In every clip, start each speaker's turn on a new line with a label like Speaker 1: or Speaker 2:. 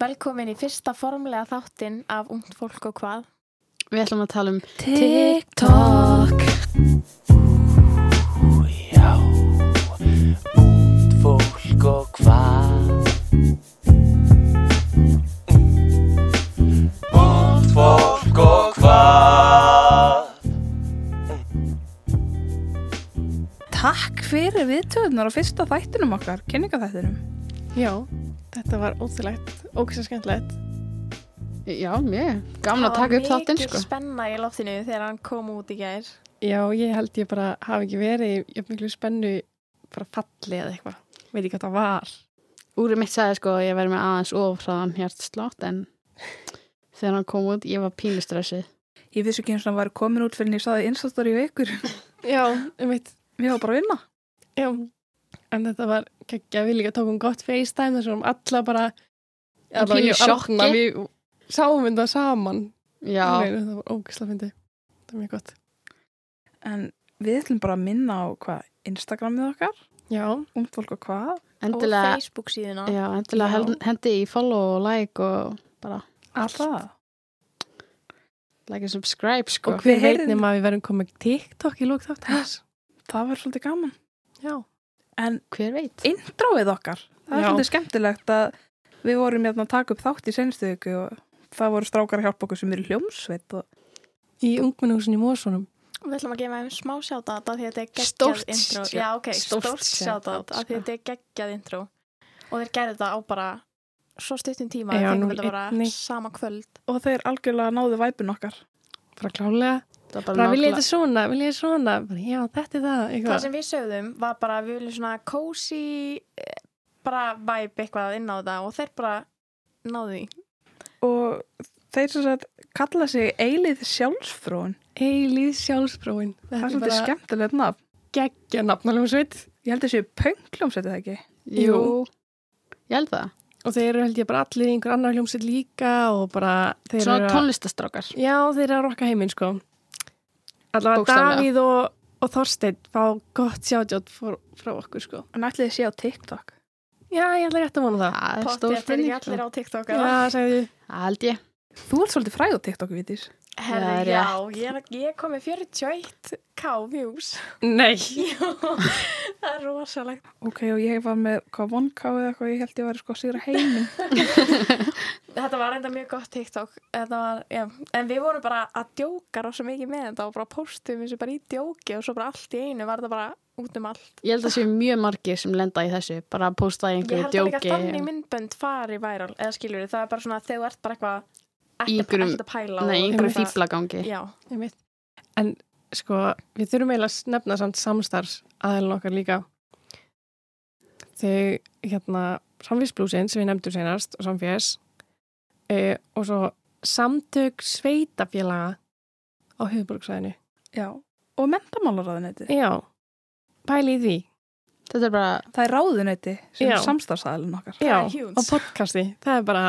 Speaker 1: Velkomin í fyrsta formlega þáttinn af Ungt fólk og hvað.
Speaker 2: Við ætlum að tala um
Speaker 1: TikTok.
Speaker 3: Já, út fólk og hvað Út fólk Mm. og hvað
Speaker 4: Takk fyrir viðtöðunar á fyrsta þættinum okkar, kynningaþættinum.
Speaker 5: Já, þetta var ótrúlegt, ógæslega skemmtilegt.
Speaker 2: Já, mjög, gaman að taka upp
Speaker 1: Það
Speaker 2: þáttinn
Speaker 1: var
Speaker 2: sko
Speaker 1: mikil spenna í loftinu þegar hann kom út í gær.
Speaker 5: Já, ég held ég bara hafi ekki verið í jafn miklu spennu bara falli eða eitthvað. Veit ekki hvað það var.
Speaker 2: Úrið mitt sagði sko að ég verið með aðeins ofraðan hjartslátt en þegar hann kom út, ég var pínustressið
Speaker 4: Ég vissi ekki eins og hann var komin út fyrir en ég saði instastóri í ykkur.
Speaker 5: Já, um eitt,
Speaker 4: Mér var bara að vinna.
Speaker 5: já. En þetta var, ekki að við líka tókum gott FaceTime þess að alla bara
Speaker 2: Í pínu
Speaker 5: ég og Arna,
Speaker 2: sjokki.
Speaker 5: Við sáum þetta saman.
Speaker 2: Já,
Speaker 5: Alveg, Það var ógæslega fyndið. Það var mjög gott.
Speaker 4: En við ætlum bara að minna á hvað Instagramið okkar,
Speaker 5: Já,
Speaker 4: umt fólk og hvað.
Speaker 2: endilega,
Speaker 1: Og Facebook síðuna.
Speaker 2: já, endilega
Speaker 5: Já.
Speaker 2: hel- hendi í follow og like og bara
Speaker 4: Allt það.
Speaker 2: like and subscribe sko
Speaker 5: og hver
Speaker 4: Við
Speaker 5: veit
Speaker 4: heyrðum-
Speaker 5: nema að við verðum komið TikTok í lók þáttins.
Speaker 4: Það var svolítið gaman.
Speaker 5: Já.
Speaker 4: En
Speaker 2: Hver veit?
Speaker 4: intróið okkar, það er
Speaker 5: Já.
Speaker 4: svolítið skemmtilegt að við vorum hérna að taka upp þátt í senstu ykkur og það voru strákar að hjálpa okkur sem eru í hljómsveit og
Speaker 5: Í ungminnhúsin í Mósunum.
Speaker 1: Við ætlum að gefa þeim smá sjátat af því að þetta er geggjað
Speaker 2: Stórt sko.
Speaker 1: intro.
Speaker 2: sjá-
Speaker 1: Já, ok,
Speaker 2: stórt
Speaker 1: stórt
Speaker 2: shoutout,
Speaker 1: sjátat af því
Speaker 2: sko.
Speaker 1: að þetta er geggjað intro. Og þeir gerðu þetta á bara svo stuttum tíma.
Speaker 5: Já,
Speaker 1: Já,
Speaker 5: nú
Speaker 1: nú þetta bara
Speaker 5: einni.
Speaker 1: sama kvöld.
Speaker 4: og þeir algjörlega náðu væpun okkar.
Speaker 5: Bara klálega.
Speaker 2: Það er
Speaker 5: bara vil
Speaker 2: bara
Speaker 5: ég
Speaker 2: nákvæmlega-
Speaker 5: þetta svona, vil ég þetta svona bara, já, þetta er það,
Speaker 1: Það
Speaker 5: eitthvað
Speaker 1: sem við sögðum var bara að við viljum svona cozy, eh, bara vibe eitthvað inn á þetta og þeir bara náðu því.
Speaker 4: Og þeir sem sagt kalla sig eilið sjálfsfrón.
Speaker 5: eilíð sjálfsbróin
Speaker 4: Það
Speaker 5: þetta
Speaker 4: er
Speaker 5: er
Speaker 4: svolítið
Speaker 5: bara
Speaker 4: skemmtilegt nafn.
Speaker 5: geggja nafnalum sveit
Speaker 4: Ég held að þessi pöngljómsveit eða ekki.
Speaker 2: Jú, ég held það
Speaker 5: og þeir eru held ég bara allir í einhver annar hljómsveit líka og bara þeir
Speaker 2: Svona
Speaker 5: eru að,
Speaker 2: tónlistastrákar
Speaker 5: já, þeir eru að rokka heiminn sko allavega
Speaker 2: Bókstaflega.
Speaker 5: Davíð og, og Þorsteinn fá gott sjátjótt frá, frá okkur sko
Speaker 4: En ætli þið sé á TikTok.
Speaker 5: já, ég ætla rétt að vona það
Speaker 2: Það er
Speaker 1: Pottþétt
Speaker 2: stór
Speaker 1: eru ekki
Speaker 2: spurning
Speaker 1: allir
Speaker 2: sko.
Speaker 1: á TikTok
Speaker 5: já,
Speaker 1: eða?
Speaker 5: sagði
Speaker 2: Það held ég
Speaker 4: Þú ert svolítið fræð á TikTok, vitís.
Speaker 1: Herri,
Speaker 2: Já,
Speaker 1: já, ég, ég kom með 41k views.
Speaker 5: nei
Speaker 1: Já, það er rosalegt.
Speaker 4: Ok, og ég var með hvað vonkáið eða eitthvað, ég held ég væri sko að sigra heiminn.
Speaker 1: Þetta var enda mjög gott TikTok. Þetta var, já, en við vorum bara að djóka rosa mikið með þetta og bara postum þessu bara í djóki og svo bara allt í einu var þetta bara út um allt.
Speaker 2: Ég held að sé mjög margir sem lenda í þessu bara að posta í
Speaker 1: Ég
Speaker 2: einhverju
Speaker 1: held að líka
Speaker 2: djóki
Speaker 1: þannig myndbönd fari væral, eða skiljur það er bara svona þegar þú ert bara eitthvað
Speaker 2: Í
Speaker 1: ekkert
Speaker 2: einhverjum-
Speaker 1: ekkert að pæla. og
Speaker 2: Nei,
Speaker 1: bara
Speaker 2: einhverju
Speaker 1: eitthvað-
Speaker 2: fýblagangi
Speaker 1: Já,
Speaker 5: Einmitt. En sko, við þurfum eiginlega að nefna samt samstarfs aðeilin okkar líka. Þau, hérna, samfélagsblúsin sem við nefndum senast og samfélags e, og svo samtök sveitafélaga á höfuborgsvæðinu.
Speaker 4: Já. Og mentamálaráðunetti.
Speaker 5: Já, pæli í því.
Speaker 2: Þetta er bara
Speaker 4: Það er ráðunetti sem
Speaker 5: Já.
Speaker 4: er samstarfsæðalinn okkar.
Speaker 1: Það
Speaker 5: Já,
Speaker 1: er huge.
Speaker 5: á podcasti. Það er bara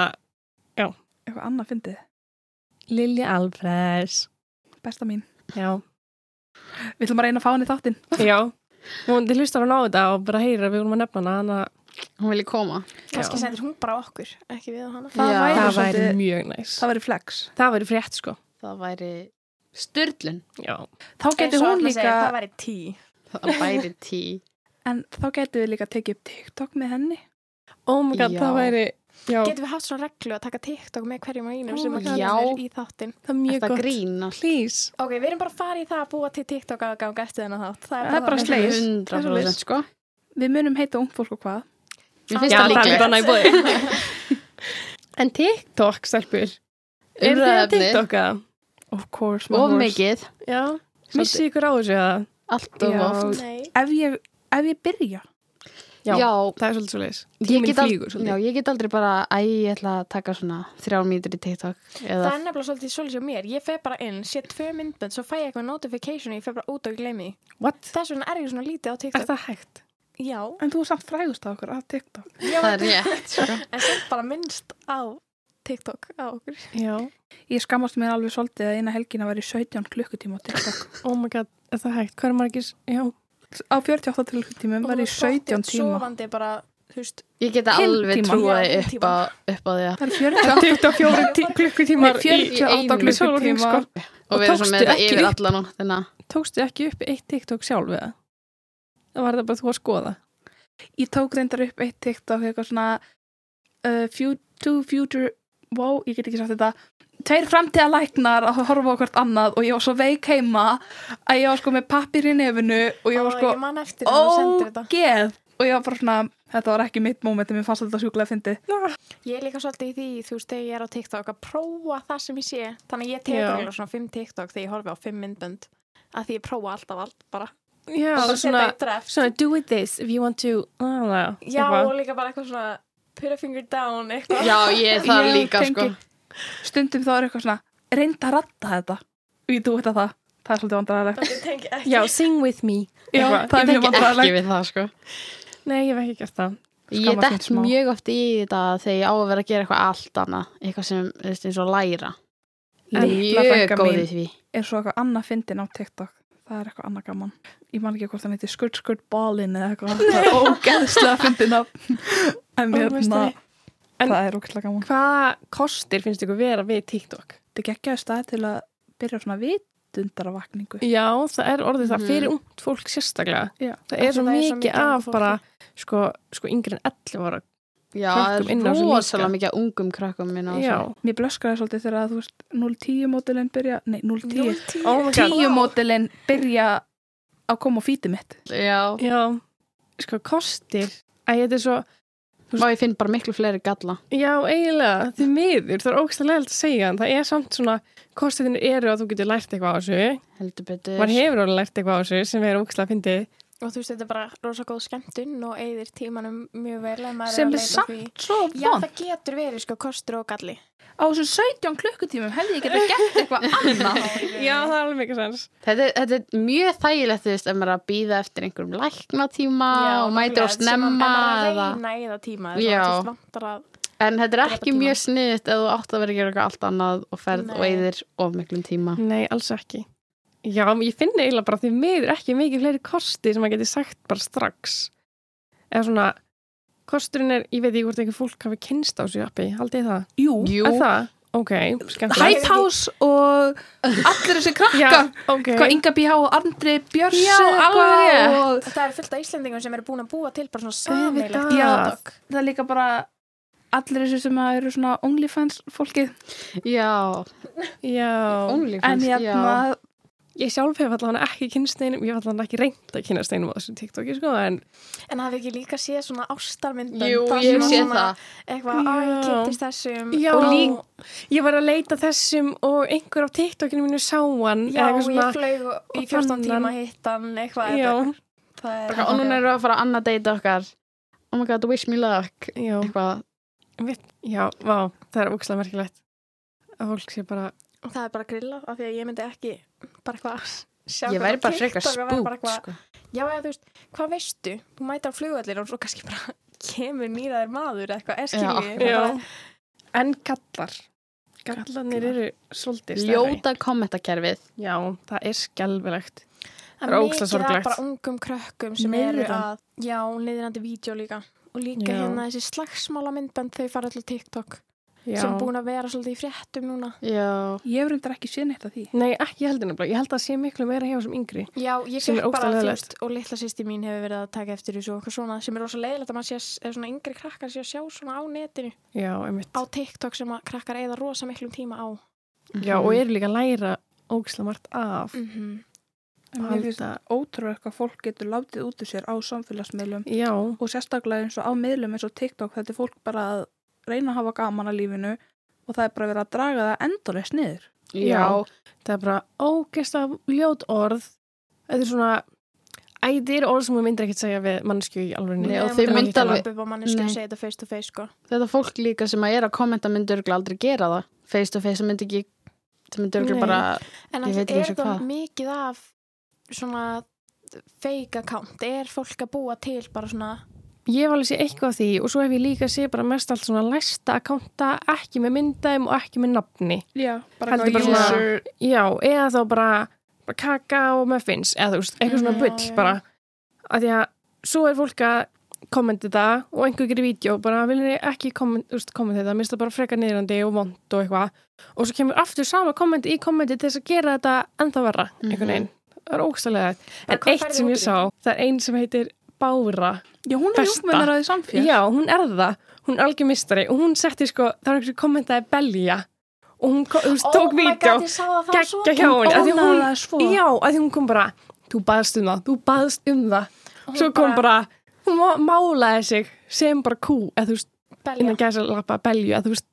Speaker 4: Eitthvað annað fyndið.
Speaker 5: Lilja Alfreds.
Speaker 4: Besta mín.
Speaker 5: Já,
Speaker 4: Við ætlum að reyna að fá henni í þáttinn.
Speaker 5: já. Hún hlustar hún á þetta og bara heyrir að við vorum að nefna hana, hana
Speaker 2: Hún vilji koma
Speaker 1: kannski
Speaker 5: Já.
Speaker 1: sendir hún bara okkur, ekki við og hana.
Speaker 4: Það
Speaker 2: Já.
Speaker 4: væri
Speaker 5: það væri
Speaker 4: svolítið-
Speaker 5: mjög næs.
Speaker 4: Það verður flex.
Speaker 5: Það væri frétt, sko.
Speaker 2: Það væri styrlun
Speaker 5: Já.
Speaker 4: Þá
Speaker 1: Eins
Speaker 4: getur
Speaker 1: og
Speaker 4: hún
Speaker 1: Arna segir, það
Speaker 4: líka,
Speaker 1: væri tí.
Speaker 2: Það væri tí
Speaker 4: en þá getur við líka tekið upp TikTok með henni.
Speaker 5: Oh my god,
Speaker 2: Já.
Speaker 5: það væri já,
Speaker 1: Getum við haft svona reglu að taka TikTok með hverjum og einum
Speaker 5: Oh
Speaker 1: sem
Speaker 5: my
Speaker 1: að
Speaker 2: god.
Speaker 1: kemur í þáttin?
Speaker 5: það er mjög
Speaker 2: Þetta
Speaker 5: gott
Speaker 2: grínast
Speaker 5: Please
Speaker 1: Ok, við erum bara að fara í það að búa til TikTok að ganga eftir þennan þátt.
Speaker 4: Það er bara
Speaker 1: þannig.
Speaker 4: slegið.
Speaker 2: 100% sko
Speaker 4: Við munum heita ungd fólk og hvað.
Speaker 2: Mér
Speaker 1: Já, það
Speaker 2: finnst það
Speaker 1: er
Speaker 2: líklegt
Speaker 1: bara-
Speaker 5: í bóði En TikTok, stelpur Er það
Speaker 2: Umræðuefni.
Speaker 5: TikTok að?
Speaker 4: hérna Of course, my
Speaker 2: Of
Speaker 4: horse.
Speaker 2: mikið
Speaker 5: Já Missið ykkur á þessu að
Speaker 2: Allt og
Speaker 4: Já.
Speaker 2: oft
Speaker 1: Nei,
Speaker 4: Ef ég, ef ég byrja,
Speaker 5: Já.
Speaker 2: Já,
Speaker 5: Það er svolítið svo leis
Speaker 2: ég
Speaker 5: Tíminn
Speaker 2: get, al-
Speaker 5: flýgur
Speaker 2: já,
Speaker 5: svolítið
Speaker 2: ég get aldrei bara Æ, ég ætla að taka svona þrjár mínútur í TikTok
Speaker 1: það
Speaker 2: eða,
Speaker 1: er nefnilega svolítið svolítið sem mér. Ég fer bara inn, sé tvö myndbönd, svo fæ ég eitthvað notification og ég fer bara út og gleymi því.
Speaker 5: What?
Speaker 1: Þess vegna er ég svona lítið á
Speaker 5: Er
Speaker 1: TikTok.
Speaker 5: það hægt?
Speaker 1: Já,
Speaker 4: en þú er samt frægust á okkur af TikTok.
Speaker 1: já
Speaker 2: Það er rétt sko.
Speaker 1: en sem bara minnst á TikTok á okkur.
Speaker 5: Já
Speaker 4: Ég skammast mér alveg svolítið að eina helgina væri 17 klukkutíma á TikTok.
Speaker 5: Oh my god, er það hægt? Hvað er margis?
Speaker 4: á
Speaker 5: Já
Speaker 4: 48 klukkutímum væri
Speaker 1: Og þú sokkið
Speaker 4: 17 tíma.
Speaker 1: Sofandi bara þú veist,
Speaker 2: Ég geta
Speaker 4: Fimm
Speaker 2: alveg
Speaker 4: tíma.
Speaker 2: trúið
Speaker 1: Já,
Speaker 2: upp,
Speaker 1: tíma.
Speaker 2: á- upp á því að
Speaker 4: Það er 40
Speaker 5: 24 tí- klukkutímar í
Speaker 4: Nei, 48
Speaker 5: einum
Speaker 4: klukkutíma.
Speaker 5: sko.
Speaker 2: og vera svo
Speaker 5: tókstu
Speaker 2: með þetta
Speaker 5: ekki
Speaker 2: yfir
Speaker 5: upp?
Speaker 2: alla nóttina
Speaker 5: Tókstu ekki upp eitt TikTok sjálf við það? Það var það bara þú að skoða.
Speaker 4: Ég tók reyndar upp eitt TikTok eitthvað svona uh, few, Two future Wow, ég get ekki sagt þetta Tveir framtíða læknar að horfa á hvert annað og ég var svo veik heima að ég var sko með pappir í nefinu og ég
Speaker 1: ó,
Speaker 4: var sko
Speaker 1: ég man eftir þegar þú sendir þetta
Speaker 4: ógeð og ég var bara svona, þetta var ekki mitt moment en mér fannst þetta sjúklega fyndið
Speaker 1: Ég er líka svolítið í því, þú veist, þegar ég er á TikTok að prófa það sem ég sé. Þannig að ég
Speaker 5: Já.
Speaker 1: tekur alveg svona fimm TikTok þegar ég horfi á fimm myndbönd. Að því ég prófa alltaf allt bara.
Speaker 5: Já,
Speaker 1: Og bara
Speaker 5: svona,
Speaker 1: setja í dreft.
Speaker 5: svona do with this if you want to, ah,
Speaker 1: Já, og líka bara eitthvað svona put a finger down, eitthvað.
Speaker 2: Já, ég þarf
Speaker 4: Ég
Speaker 2: líka
Speaker 4: tengi-
Speaker 2: sko
Speaker 4: stundum þá er eitthvað svona reynda að ratta þetta við þú þetta það, það er svolítið vandræðilegt
Speaker 1: Ég tengi ekki.
Speaker 5: Já, sing with me.
Speaker 4: Já,
Speaker 5: Eitthvað.
Speaker 4: það er mjög
Speaker 2: Ekki
Speaker 4: vandræðilegt
Speaker 2: við það sko
Speaker 5: Nei, ég hef ekki gert það.
Speaker 2: Ég
Speaker 4: Skammast mín
Speaker 2: dett
Speaker 4: smá.
Speaker 2: mjög oft í þetta þegar ég á að vera að gera eitthvað allt annað eitthvað sem, þú veist, eins og læra En
Speaker 4: Litla
Speaker 2: mjög
Speaker 4: frænka
Speaker 2: góð í
Speaker 4: mín.
Speaker 2: því
Speaker 4: er svo eitthvað annað fyndin á TikTok það er eitthvað annað gaman ég man ekki hvort hann heitir skurt skurt balin eða eitthvað, það er ógeðslega fyndin á en
Speaker 5: Ó, veistu
Speaker 4: hérna
Speaker 5: það? En-
Speaker 4: það er ógeðslega gaman
Speaker 5: Hvaða kostir finnst ykkur vera við TikTok?
Speaker 4: þetta er geggjaði stað til að byrja á svona vitundaravakningu
Speaker 5: Já, það er orðið það
Speaker 2: Mhm.
Speaker 5: fyrir ungt fólk sérstaklega.
Speaker 4: Já.
Speaker 1: Af
Speaker 5: Það er
Speaker 1: því það
Speaker 5: svo
Speaker 1: er svo
Speaker 5: mikið
Speaker 1: mikið ungu
Speaker 5: af
Speaker 1: fólki.
Speaker 5: bara, sko, sko yngri en 11 ára.
Speaker 2: Já,
Speaker 5: Krökkum
Speaker 2: það
Speaker 5: inn á
Speaker 2: er
Speaker 5: þessu
Speaker 2: rosalega
Speaker 5: líka.
Speaker 2: mikið af ungum krökkum minn á þessu.
Speaker 5: Já.
Speaker 4: mér blöskraði svolítið þegar að þú veist 010 mótilinn byrja, nei 010
Speaker 5: Oh my god.
Speaker 4: 10 mótilinn byrja að koma á fítið mitt
Speaker 2: Já,
Speaker 5: Já, sko, kostir. Æ, þetta er svo,
Speaker 2: og ég finn bara miklu fleiri galla
Speaker 5: já, eiginlega, því miður, það er ógstlega leilt að segja, en það er samt svona, kostirinn eru að þú getur lært eitthvað á þessu.
Speaker 2: heldur betur
Speaker 5: Maður hefur alveg lært eitthvað á þessu sem er ógstlega fyndið.
Speaker 1: Og þú veist, þetta er bara rosa góð skemmtun og eigðir tímanum mjög vel en maður
Speaker 4: sem
Speaker 1: er að
Speaker 4: er
Speaker 1: leita því.
Speaker 4: samt svo
Speaker 1: Já,
Speaker 4: vond
Speaker 1: það getur verið sko kostur og galli.
Speaker 4: á þessum 17 klukkutímum hefði ég geta gert eitthvað annað
Speaker 5: Já, það er alveg mikið sens.
Speaker 2: Þetta, er- þetta er mjög þægilegt, þú veist, ef maður er að býða eftir einhverjum læknatíma og mætir á snemma
Speaker 1: En maður er
Speaker 2: eða...
Speaker 1: að reyna í það tíma.
Speaker 2: Já.
Speaker 1: Já. Þú veist, vantar að
Speaker 2: En þetta er
Speaker 1: Drepa
Speaker 2: ekki
Speaker 1: tímann.
Speaker 2: mjög sniðt ef þú átt að vera að gera eitthvað allt annað og ferð
Speaker 1: Nei.
Speaker 2: og eyðir of miklum tíma.
Speaker 5: Nei, alls ekki. Já, ég finn eiginlega bara því miður ekki mikið fleiri kosti sem maður geti sagt bara strax. Eða svona, kosturinn er, ég veit ekki hvort eitthvað fólk hafi kynst á þessu appi, haldið þið það?
Speaker 4: Jú,
Speaker 2: Jú,
Speaker 5: Er það? Ok, skemmtilegt.
Speaker 4: Hype House og allir þessi
Speaker 5: Já,
Speaker 4: krakkar
Speaker 5: ok.
Speaker 4: hvað Inga B.H. og Andri Björns
Speaker 5: Já,
Speaker 4: eitthvað
Speaker 5: alveg
Speaker 4: og
Speaker 1: Það er fullt af Íslendingum sem eru búin að búa til bara svona samilegt
Speaker 5: Auðvitað.
Speaker 1: TikTok.
Speaker 4: það er líka bara allir þessi sem að eru svona OnlyFans fólkið
Speaker 2: já,
Speaker 5: Já,
Speaker 4: en
Speaker 2: OnlyFans, já.
Speaker 4: hérna,
Speaker 5: ég sjálf hef allan ekki kynst einum, ég hef allan ekki reynd að kynast einum á þessu TikToki, sko, en
Speaker 1: En hafi ekki líka séð svona ástarmyndum
Speaker 2: Jú, ég sé það.
Speaker 1: Eitthvað, að ég
Speaker 5: Já.
Speaker 1: kynntist þessum
Speaker 5: Já.
Speaker 1: og
Speaker 5: Lík- ég var að leita þessum og einhver á TikTokinu mínu sá hann,
Speaker 1: Já,
Speaker 5: eða eitthvað
Speaker 1: ég
Speaker 5: svona,
Speaker 1: flög í 14 tíma
Speaker 5: Fann
Speaker 1: hittan eitthvað
Speaker 5: já,
Speaker 1: þetta- það er-
Speaker 2: Og núna erum við að fara að annað deyta okkar. Oh my god, wish me luck.
Speaker 5: já,
Speaker 2: Eitthvað.
Speaker 5: já, vá, það er ókslega merkilegt að fólk sé bara
Speaker 1: Og það er bara grilla af því að ég myndi ekki bara eitthvað sjá
Speaker 2: Ég
Speaker 1: hvað
Speaker 2: væri
Speaker 1: á
Speaker 2: bara
Speaker 1: TikTok
Speaker 2: frekar
Speaker 1: og væri bara
Speaker 2: spúkt,
Speaker 1: eitthvað-
Speaker 2: sko.
Speaker 1: Já, já, þú veist, hvað veistu? Þú mætir á flugallin og svo kannski bara kemur nýraðir maður eða eitthvað,
Speaker 2: Já.
Speaker 1: eskilji
Speaker 5: Já. En gallar. Gallarnir eru svolítið stærri.
Speaker 2: Ljóta kommentakerfið.
Speaker 5: Já, það er skelvilegt.
Speaker 1: Það
Speaker 5: Það er
Speaker 1: er mikið
Speaker 5: ógeðslega
Speaker 1: það
Speaker 5: sorglegt.
Speaker 1: bara ungum krökkum sem eru
Speaker 4: Niðran.
Speaker 1: að, já, niðrandi vídeo líka. Og líka
Speaker 5: Já.
Speaker 1: hérna þessi slagsmála myndbönd þau fara alltaf TikTok
Speaker 5: Já.
Speaker 1: sem búin að vera svolítið í fréttum núna.
Speaker 2: Já.
Speaker 4: ég hef reyndar ekki séð neitt af því
Speaker 5: Nei, ekki heldur nefnilega. Ég held að það sé miklu meira hjá sem yngri.
Speaker 1: Já, ég
Speaker 5: Sem er
Speaker 1: fekk bara
Speaker 5: ógeðslega
Speaker 1: þú
Speaker 5: leiðinlegt.
Speaker 1: veist og litla sýsti mín hefur verið að taka eftir þessu og eitthvað svona sem er rosa leiðilegt að maður sé, að- ef svona yngri krakkar sé að sjá svona á netinu,
Speaker 5: Já, einmitt.
Speaker 1: á TikTok sem að krakkar eigða rosa miklum tíma á.
Speaker 2: Mhm.
Speaker 5: Já, og eru líka að læra ógislega margt af.
Speaker 1: Mm
Speaker 4: En mér finnst
Speaker 5: Halda-
Speaker 4: ótrúlega hvað fólk getur látið út úr sér á samfélagsmiðlum
Speaker 5: Já,
Speaker 4: og sérstaklega eins og á miðlum eins og TikTok þetta er fólk bara að reyna að hafa gaman að lífinu og það er bara verið að draga það endurlega sniður.
Speaker 2: Já.
Speaker 5: það er bara ógislega ljót orð. Þetta er svona, æ, þetta eru orð sem þú myndir ekkert segja við mannsku í alveg
Speaker 2: Nei,
Speaker 5: niður.
Speaker 2: og þau myndu alveg-
Speaker 1: upp á mannesku
Speaker 2: Nei.
Speaker 1: og segja þetta face to face sko.
Speaker 2: Þetta fólk líka sem að er að kommenta myndi örgulega aldrei gera það. Face to face það myndi ekki, það myndi
Speaker 5: Nei.
Speaker 2: örgulega bara...
Speaker 1: En
Speaker 2: Ég
Speaker 1: ætli,
Speaker 2: veit ekki eins
Speaker 1: er
Speaker 2: og
Speaker 1: það
Speaker 2: hvað.
Speaker 1: mikið af svona fake account? Er fólk að búa til bara svona
Speaker 5: Ég hef alveg sé eitthvað af því og svo hef ég líka sé bara mest allt svona læsta akkánta, ekki með myndæm og ekki með nafni.
Speaker 4: Já, bara
Speaker 5: Heldur
Speaker 4: eitthvað
Speaker 5: bara
Speaker 2: svona-
Speaker 4: user-
Speaker 5: Já, eða þá bara, bara kaka og muffins eða þú veist, eitthvað svona
Speaker 1: Mhm.
Speaker 5: bull
Speaker 1: Já, já.
Speaker 5: bara. Að því að svo er fólk að kommenti þetta og einhver gerir vídeo bara viljið þið ekki kommenti þetta minnst það bara frekar niðrandi og vond og eitthvað og svo kemur aftur sama kommenti í kommenti til þess að gera þetta ennþá verra einhvern veginn, það er ógstælega en
Speaker 1: Mhm. hvað
Speaker 5: eitt
Speaker 1: færðu
Speaker 5: sem
Speaker 1: út
Speaker 5: ég
Speaker 1: úr
Speaker 5: sá, það er ein sem heitir Bára
Speaker 4: Já, hún er
Speaker 5: Besta.
Speaker 4: júkmennaraði samfél
Speaker 5: Já, hún er það, hún er algjör mistari og hún setti sko, það var einhver kommentaði belja og hún, ko- þú veist, tók vídeo
Speaker 1: Oh ég sá það, það var svo
Speaker 5: geggja hjá henni af því
Speaker 4: Ónáðaði
Speaker 5: hún,
Speaker 4: það
Speaker 1: sko.
Speaker 4: svo.
Speaker 5: já, að því hún kom bara þú baðst um það, þú baðst um það
Speaker 1: Hún
Speaker 5: svo kom bara, hún má- málaði sig sem bara kú, eða þú veist
Speaker 1: belja.
Speaker 5: innan gæsa lappa belju, eða þú veist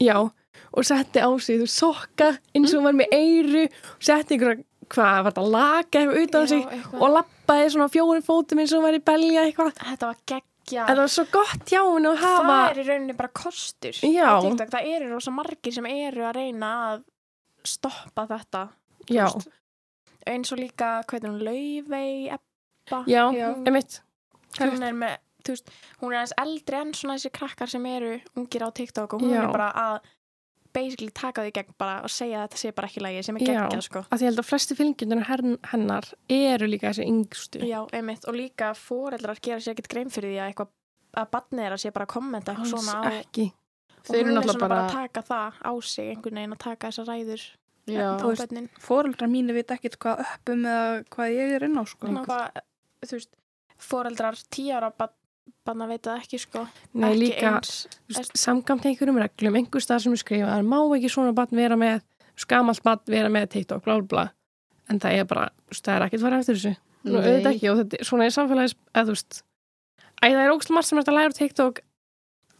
Speaker 5: já, og setti á sig þú veist, sokka eins og hún var með eyru setti einhverja, hvað, var þetta laka eitthvað utan á
Speaker 1: Já,
Speaker 5: sig
Speaker 1: eitthvað.
Speaker 5: og lappaði svona á fjórum fótum eins og hún var í belja eitthvað
Speaker 1: Þetta var geggja.
Speaker 5: þetta var svo gott hjá henni að
Speaker 1: Það
Speaker 5: hafa
Speaker 1: er í rauninni bara kostur
Speaker 5: Já.
Speaker 1: á TikTok. Það eru rosa margir sem eru að reyna að stoppa þetta. þú
Speaker 5: já,
Speaker 1: veist. Eins og líka, hvað er hún, Laufey, Ebba.
Speaker 5: já,
Speaker 4: Já.
Speaker 5: emitt
Speaker 1: Hún er með, þú veist, hún er aðeins eldri en svona þessi krakkar sem eru ungir á TikTok og hún
Speaker 5: Já.
Speaker 1: er bara að basically taka því gegn bara og segja að þetta sé bara ekki lægi sem er
Speaker 5: Já.
Speaker 1: geggjað sko.
Speaker 5: að því ég held að flesti fylgjöndunar hennar eru líka þessi yngstu
Speaker 1: Já, einmitt, og líka foreldrar gera sér ekkert grein fyrir því að eitthvað að barnið er að sé bara að kommenta eitthvað
Speaker 5: alls
Speaker 1: svona á
Speaker 5: ekki
Speaker 1: og
Speaker 2: Þau eru
Speaker 1: hún er
Speaker 2: náttúrulega
Speaker 1: svona bara
Speaker 2: bara,
Speaker 1: að taka það á sig einhvern veginn að taka þessar ræður á
Speaker 2: já,
Speaker 4: þú veist,
Speaker 1: bönnin
Speaker 4: Fóreldrar mínu veit ekkert hvað öppum eða hvað ég er inn á sko.
Speaker 1: þú veist, foreldrar tíu ára banna veit það ekki sko
Speaker 5: Nei,
Speaker 1: ekki
Speaker 5: líka,
Speaker 1: eins
Speaker 5: þú veist, samkvæmt einhverjum reglum, einhver stað sem er skrifað, má ekki svona barn vera með, skamalt barn vera með TikTok, blá, blá, blá. En það er bara, þú veist, það er ekkert farið eftir þessu. Nú, auðvitað ekki, og þetta er svona í samfélagis, að þú veist, æ, það er ógst margt sem er hægt að læra á TikTok,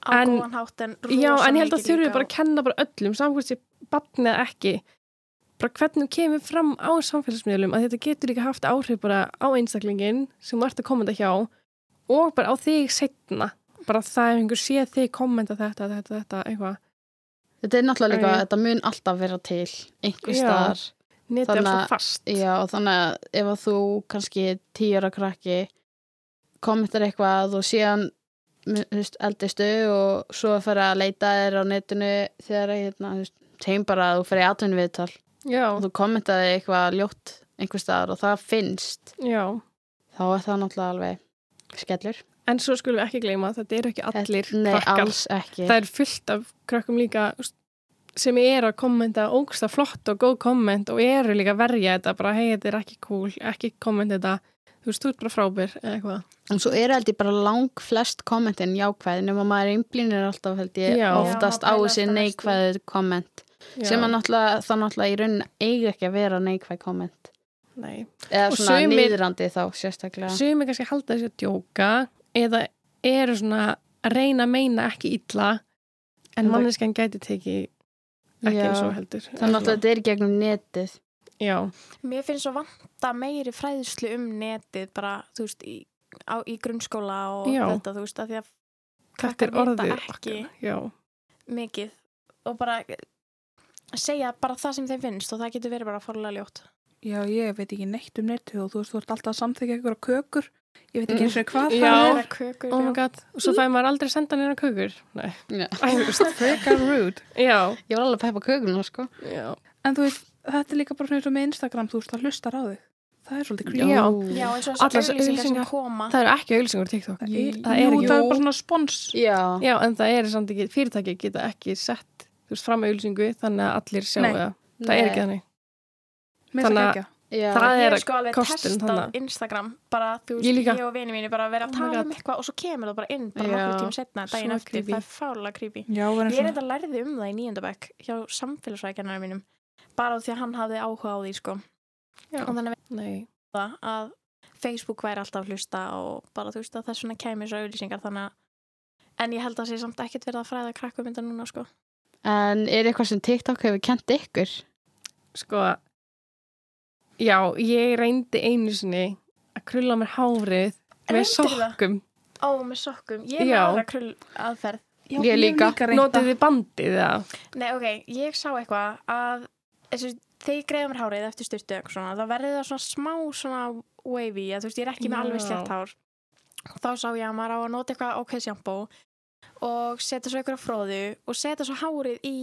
Speaker 1: á
Speaker 5: En-
Speaker 1: góðan hátt en
Speaker 5: já,
Speaker 1: rosa
Speaker 5: en ég held að
Speaker 1: mikið
Speaker 5: þurfið
Speaker 1: líka
Speaker 5: bara að kenna bara öllum, samkvæmt sér barn eða ekki, bara hvernig þú kemur fram á samfélagsmiðlum, að þetta getur líka haft áhrif bara á einstaklingin sem þú ert að kommenta hjá og bara á þig setna, bara það ef einhver sé þig kommenta þetta, þetta, þetta, eitthvað.
Speaker 2: Þetta er náttúrulega líka,
Speaker 5: Æ.
Speaker 2: þetta mun alltaf vera til einhver
Speaker 5: Já.
Speaker 2: staðar.
Speaker 5: Netið er
Speaker 2: Þannig
Speaker 5: alltaf
Speaker 2: að-
Speaker 5: fast.
Speaker 2: Já, þannig að ef að þú kannski tíjara krakki kommentar eitthvað og síðan þú veist, eldistu og svo að fara að leita þér á netinu þegar að, hérna, þú veist, segjum bara að þú fer í atvinni viðtal
Speaker 5: Já,
Speaker 2: og þú kommentaði eitthvað ljótt einhver staðar og það finnst
Speaker 5: já.
Speaker 2: þá er það náttúrulega alveg skellur
Speaker 5: En svo skulum við ekki gleyma að þetta eru ekki allir
Speaker 2: Nei,
Speaker 5: krakkar.
Speaker 2: alls ekki
Speaker 5: Það er fullt af krakkum líka þú veist, sem eru að kommenta ógsta flott og góð komment og eru líka að verja þetta bara, hei, þetta er ekki cool, ekki komment þetta, þú veist, þú ert bara frábær eða eitthvað.
Speaker 2: og svo er held ég bara lang flest kommentin jákvæð nema maður einblínir alltaf held ég
Speaker 5: Já.
Speaker 2: oftast
Speaker 1: Já,
Speaker 2: á
Speaker 1: maður pælir alltaf
Speaker 2: þessi
Speaker 1: mest í-
Speaker 2: neikvæðu komment
Speaker 5: Já.
Speaker 2: sem að náttúrulega, þá náttúrulega í raunin eiga ekki að vera neikvæð komment
Speaker 5: Nei.
Speaker 2: eða
Speaker 5: Og
Speaker 2: svona
Speaker 5: sumir-
Speaker 2: niðrandi þá sérstaklega
Speaker 5: Sumi kannski halda þessi að djóka eða eru svona að reyna að meina ekki illa en
Speaker 2: En það-
Speaker 5: manneskjan gæti tekið ekki
Speaker 2: Já.
Speaker 5: eins og heldur.
Speaker 2: þannig að náttúrulega þetta er í gegnum netið
Speaker 5: Já,
Speaker 1: Mér finnst svo vanta meiri fræðslu um netið bara, þú veist, í, á, í grunnskóla og
Speaker 5: Já.
Speaker 1: þetta, þú veist, að því að
Speaker 5: þetta
Speaker 1: krakkar
Speaker 5: er
Speaker 1: vita
Speaker 5: orðið.
Speaker 1: ekki
Speaker 5: okkar. Já.
Speaker 1: mikið og bara segja bara það sem þeim finnst og það getur verið bara fórlega ljótt.
Speaker 4: Já, ég veit ekki neitt um netið og þú veist, þú ert alltaf að samþykja einhverja kökur. Ég veit
Speaker 5: Mm.
Speaker 4: ekki eins og hvað
Speaker 5: Já.
Speaker 4: það
Speaker 1: Það
Speaker 4: er.
Speaker 1: er kökur,
Speaker 5: Oh my
Speaker 1: já.
Speaker 5: god, og svo fæði maður aldrei senda nýra kökur Nei,
Speaker 2: Já.
Speaker 5: Æ, þú veist.
Speaker 4: Frekar rude.
Speaker 5: já,
Speaker 2: ég var alveg að peppa kökuna sko
Speaker 5: já
Speaker 4: En þú veist, þetta er líka bara svona eins og með Instagram, þú veist, það hlustar á þig. Það er svolítið creepy.
Speaker 5: Já.
Speaker 1: Já, eins og þessar
Speaker 5: Allar þessar
Speaker 1: auðlýsingar sem
Speaker 5: auglýsingar.
Speaker 1: koma.
Speaker 5: Það eru ekki auðlýsingur á TikTok
Speaker 4: Það er,
Speaker 5: Það er
Speaker 4: jú,
Speaker 5: ekki
Speaker 4: það er bara svona spons.
Speaker 2: Já.
Speaker 5: Já, en það er samt ekki, fyrirtæki geta ekki sett þú veist, fram auðlýsingu þannig að allir sjá
Speaker 4: Nei.
Speaker 5: það Það er ekki þannig
Speaker 4: Mér finnst
Speaker 5: Þannig
Speaker 4: það
Speaker 5: að-
Speaker 4: ekki.
Speaker 2: Já.
Speaker 5: Það
Speaker 1: Ég
Speaker 5: er
Speaker 1: er sko alveg
Speaker 5: kosturinn
Speaker 1: testað
Speaker 5: þarna.
Speaker 1: Instagram, bara þú
Speaker 5: Ég
Speaker 1: veist, ég,
Speaker 5: líka.
Speaker 1: og vini mínu bara vera
Speaker 5: Oh
Speaker 1: að
Speaker 5: my
Speaker 1: tala
Speaker 5: God.
Speaker 1: um eitthvað og svo kemur það bara inn bara
Speaker 2: Já.
Speaker 1: nokkur tíma setna
Speaker 5: Svo
Speaker 1: daginn eftir,
Speaker 5: creepy.
Speaker 1: það er fála creepy.
Speaker 4: Já, við
Speaker 1: Ég
Speaker 4: erum
Speaker 1: er
Speaker 4: svona.
Speaker 1: þetta lærði um það í nýjöndabæk hjá samfélagsvækjarnar mínum, bara á því að hann hafði áhuga á því, sko.
Speaker 5: Já.
Speaker 1: Og þannig við
Speaker 5: Nei,
Speaker 1: það að Facebook væri alltaf að hlusta og bara þú veist að þess vegna kæmi svo auðlýsingar þannig að En ég held að það sé samt ekkert verið að fræða krakkum mynda núna sko.
Speaker 2: en er eitthvað sem TikTok hefur kent ykkur
Speaker 5: sko Já, ég reyndi einu sinni að krulla mér hárið með
Speaker 1: Reyndirðu það?
Speaker 5: sokkum
Speaker 1: Ó, með sokkum. Ég er
Speaker 5: Já.
Speaker 1: með aðra krull aðferð.
Speaker 4: Já,
Speaker 2: Ég líka.
Speaker 5: Notið þið bandið það
Speaker 1: Nei, ok, ég sá eitthvað að þessu, þegar ég greiða mér hárið eftir styrtu eitthvað svona, þá verði það svona smá svona wavy, að þú veist, ég er ekki með
Speaker 5: Já.
Speaker 1: alveg slett hár. Þá sá ég að maður á að nota eitthvað ok sjampó og setja svo eitthvað fróðu og setja svo hárið í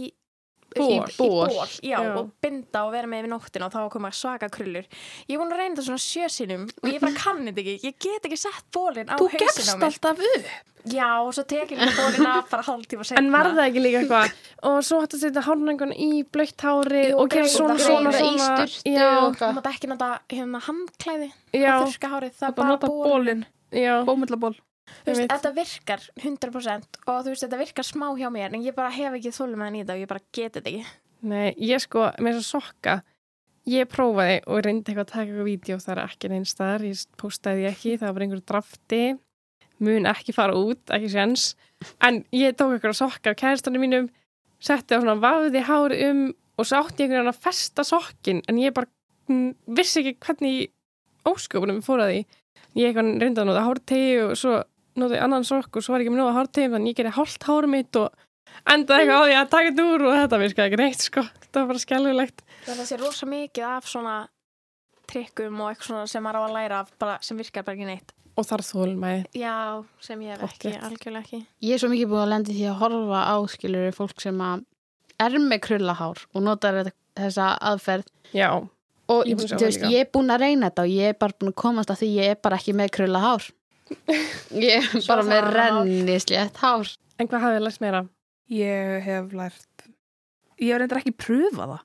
Speaker 5: Bor.
Speaker 1: í, í ból, já,
Speaker 5: Já.
Speaker 1: og binda og vera með yfir nóttina og þá koma svaka krullur ég er búin að reyna þetta svona sjösinum og ég bara kann þetta ekki, ég get ekki sett bólin á
Speaker 4: Þú
Speaker 1: hausin á
Speaker 4: gefst
Speaker 1: mér
Speaker 4: alltaf upp
Speaker 1: já, og svo tek ég líka bólin af bara hálftíma setna
Speaker 5: En var það ekki líka eitthvað og svo hætti að setja hárnöngun í blöitt hári
Speaker 1: Jú,
Speaker 5: og gera
Speaker 1: greiða,
Speaker 5: svona svona
Speaker 1: greiða
Speaker 2: í
Speaker 5: svona
Speaker 2: sturtu
Speaker 5: já,
Speaker 2: og-
Speaker 1: Þú mátt ekki nota hérna handklæði
Speaker 5: já,
Speaker 1: að þurrka hárið, það er
Speaker 5: bara
Speaker 1: bara
Speaker 5: nota
Speaker 1: ból
Speaker 4: Bólin,
Speaker 5: já,
Speaker 4: bómullaból
Speaker 1: Þú veist,
Speaker 5: Einmitt.
Speaker 1: þetta virkar 100% og þú veist, þetta virkar smá hjá mér en ég bara hef ekki þólum meðan í þetta og ég bara get þetta ekki
Speaker 5: Nei, ég sko, með þess að sokka ég prófaði og reyndi eitthvað að taka eitthvað vídeo það er ekki neins staðar, ég postaði því ekki það var bara einhver drafti mun ekki fara út, ekki séns en ég tók eitthvað sokka af kæristunum mínum setti á svona vafði hár um og svo átti ég einhvern veginn að festa sokkin en ég bara mm, vissi ekki hvernig í ósköpunum ég fór að því ég eitthvað reyndi að nota hártegi og svo notaði annan sokk og svo var ég ekki með nóga hártegi þannig ég gerði hálft hár mitt og endaði eitthvað á því að taka þetta úr og þetta virkaði ekki neitt sko, það var bara skjálfilegt
Speaker 1: það sé rosa mikið af svona trikkum og eitthvað svona sem maður á að læra af bara, sem virkar bara ekki neitt
Speaker 5: og þar þólmaði
Speaker 1: já, sem ég hef ekki,
Speaker 5: Pottþétt.
Speaker 1: algjörlega ekki
Speaker 2: Ég er svo mikið búin að lendi því að horfa á skilur fólk sem að er með krullahár og notar þetta- þessa aðferð
Speaker 5: já,
Speaker 2: og
Speaker 5: Ég er búin að sjá
Speaker 2: þú
Speaker 5: það
Speaker 2: veist,
Speaker 5: líka.
Speaker 2: ég er búin að reyna þetta og ég er bara búin að komast að því ég er bara ekki með krullahár ég er
Speaker 1: Svo
Speaker 2: bara
Speaker 1: það
Speaker 2: með
Speaker 1: er hár.
Speaker 2: rennislegt hár
Speaker 5: en hvað hafið þið lært meira?
Speaker 4: Ég hef lært Ég hef reyndar ekki pröfað það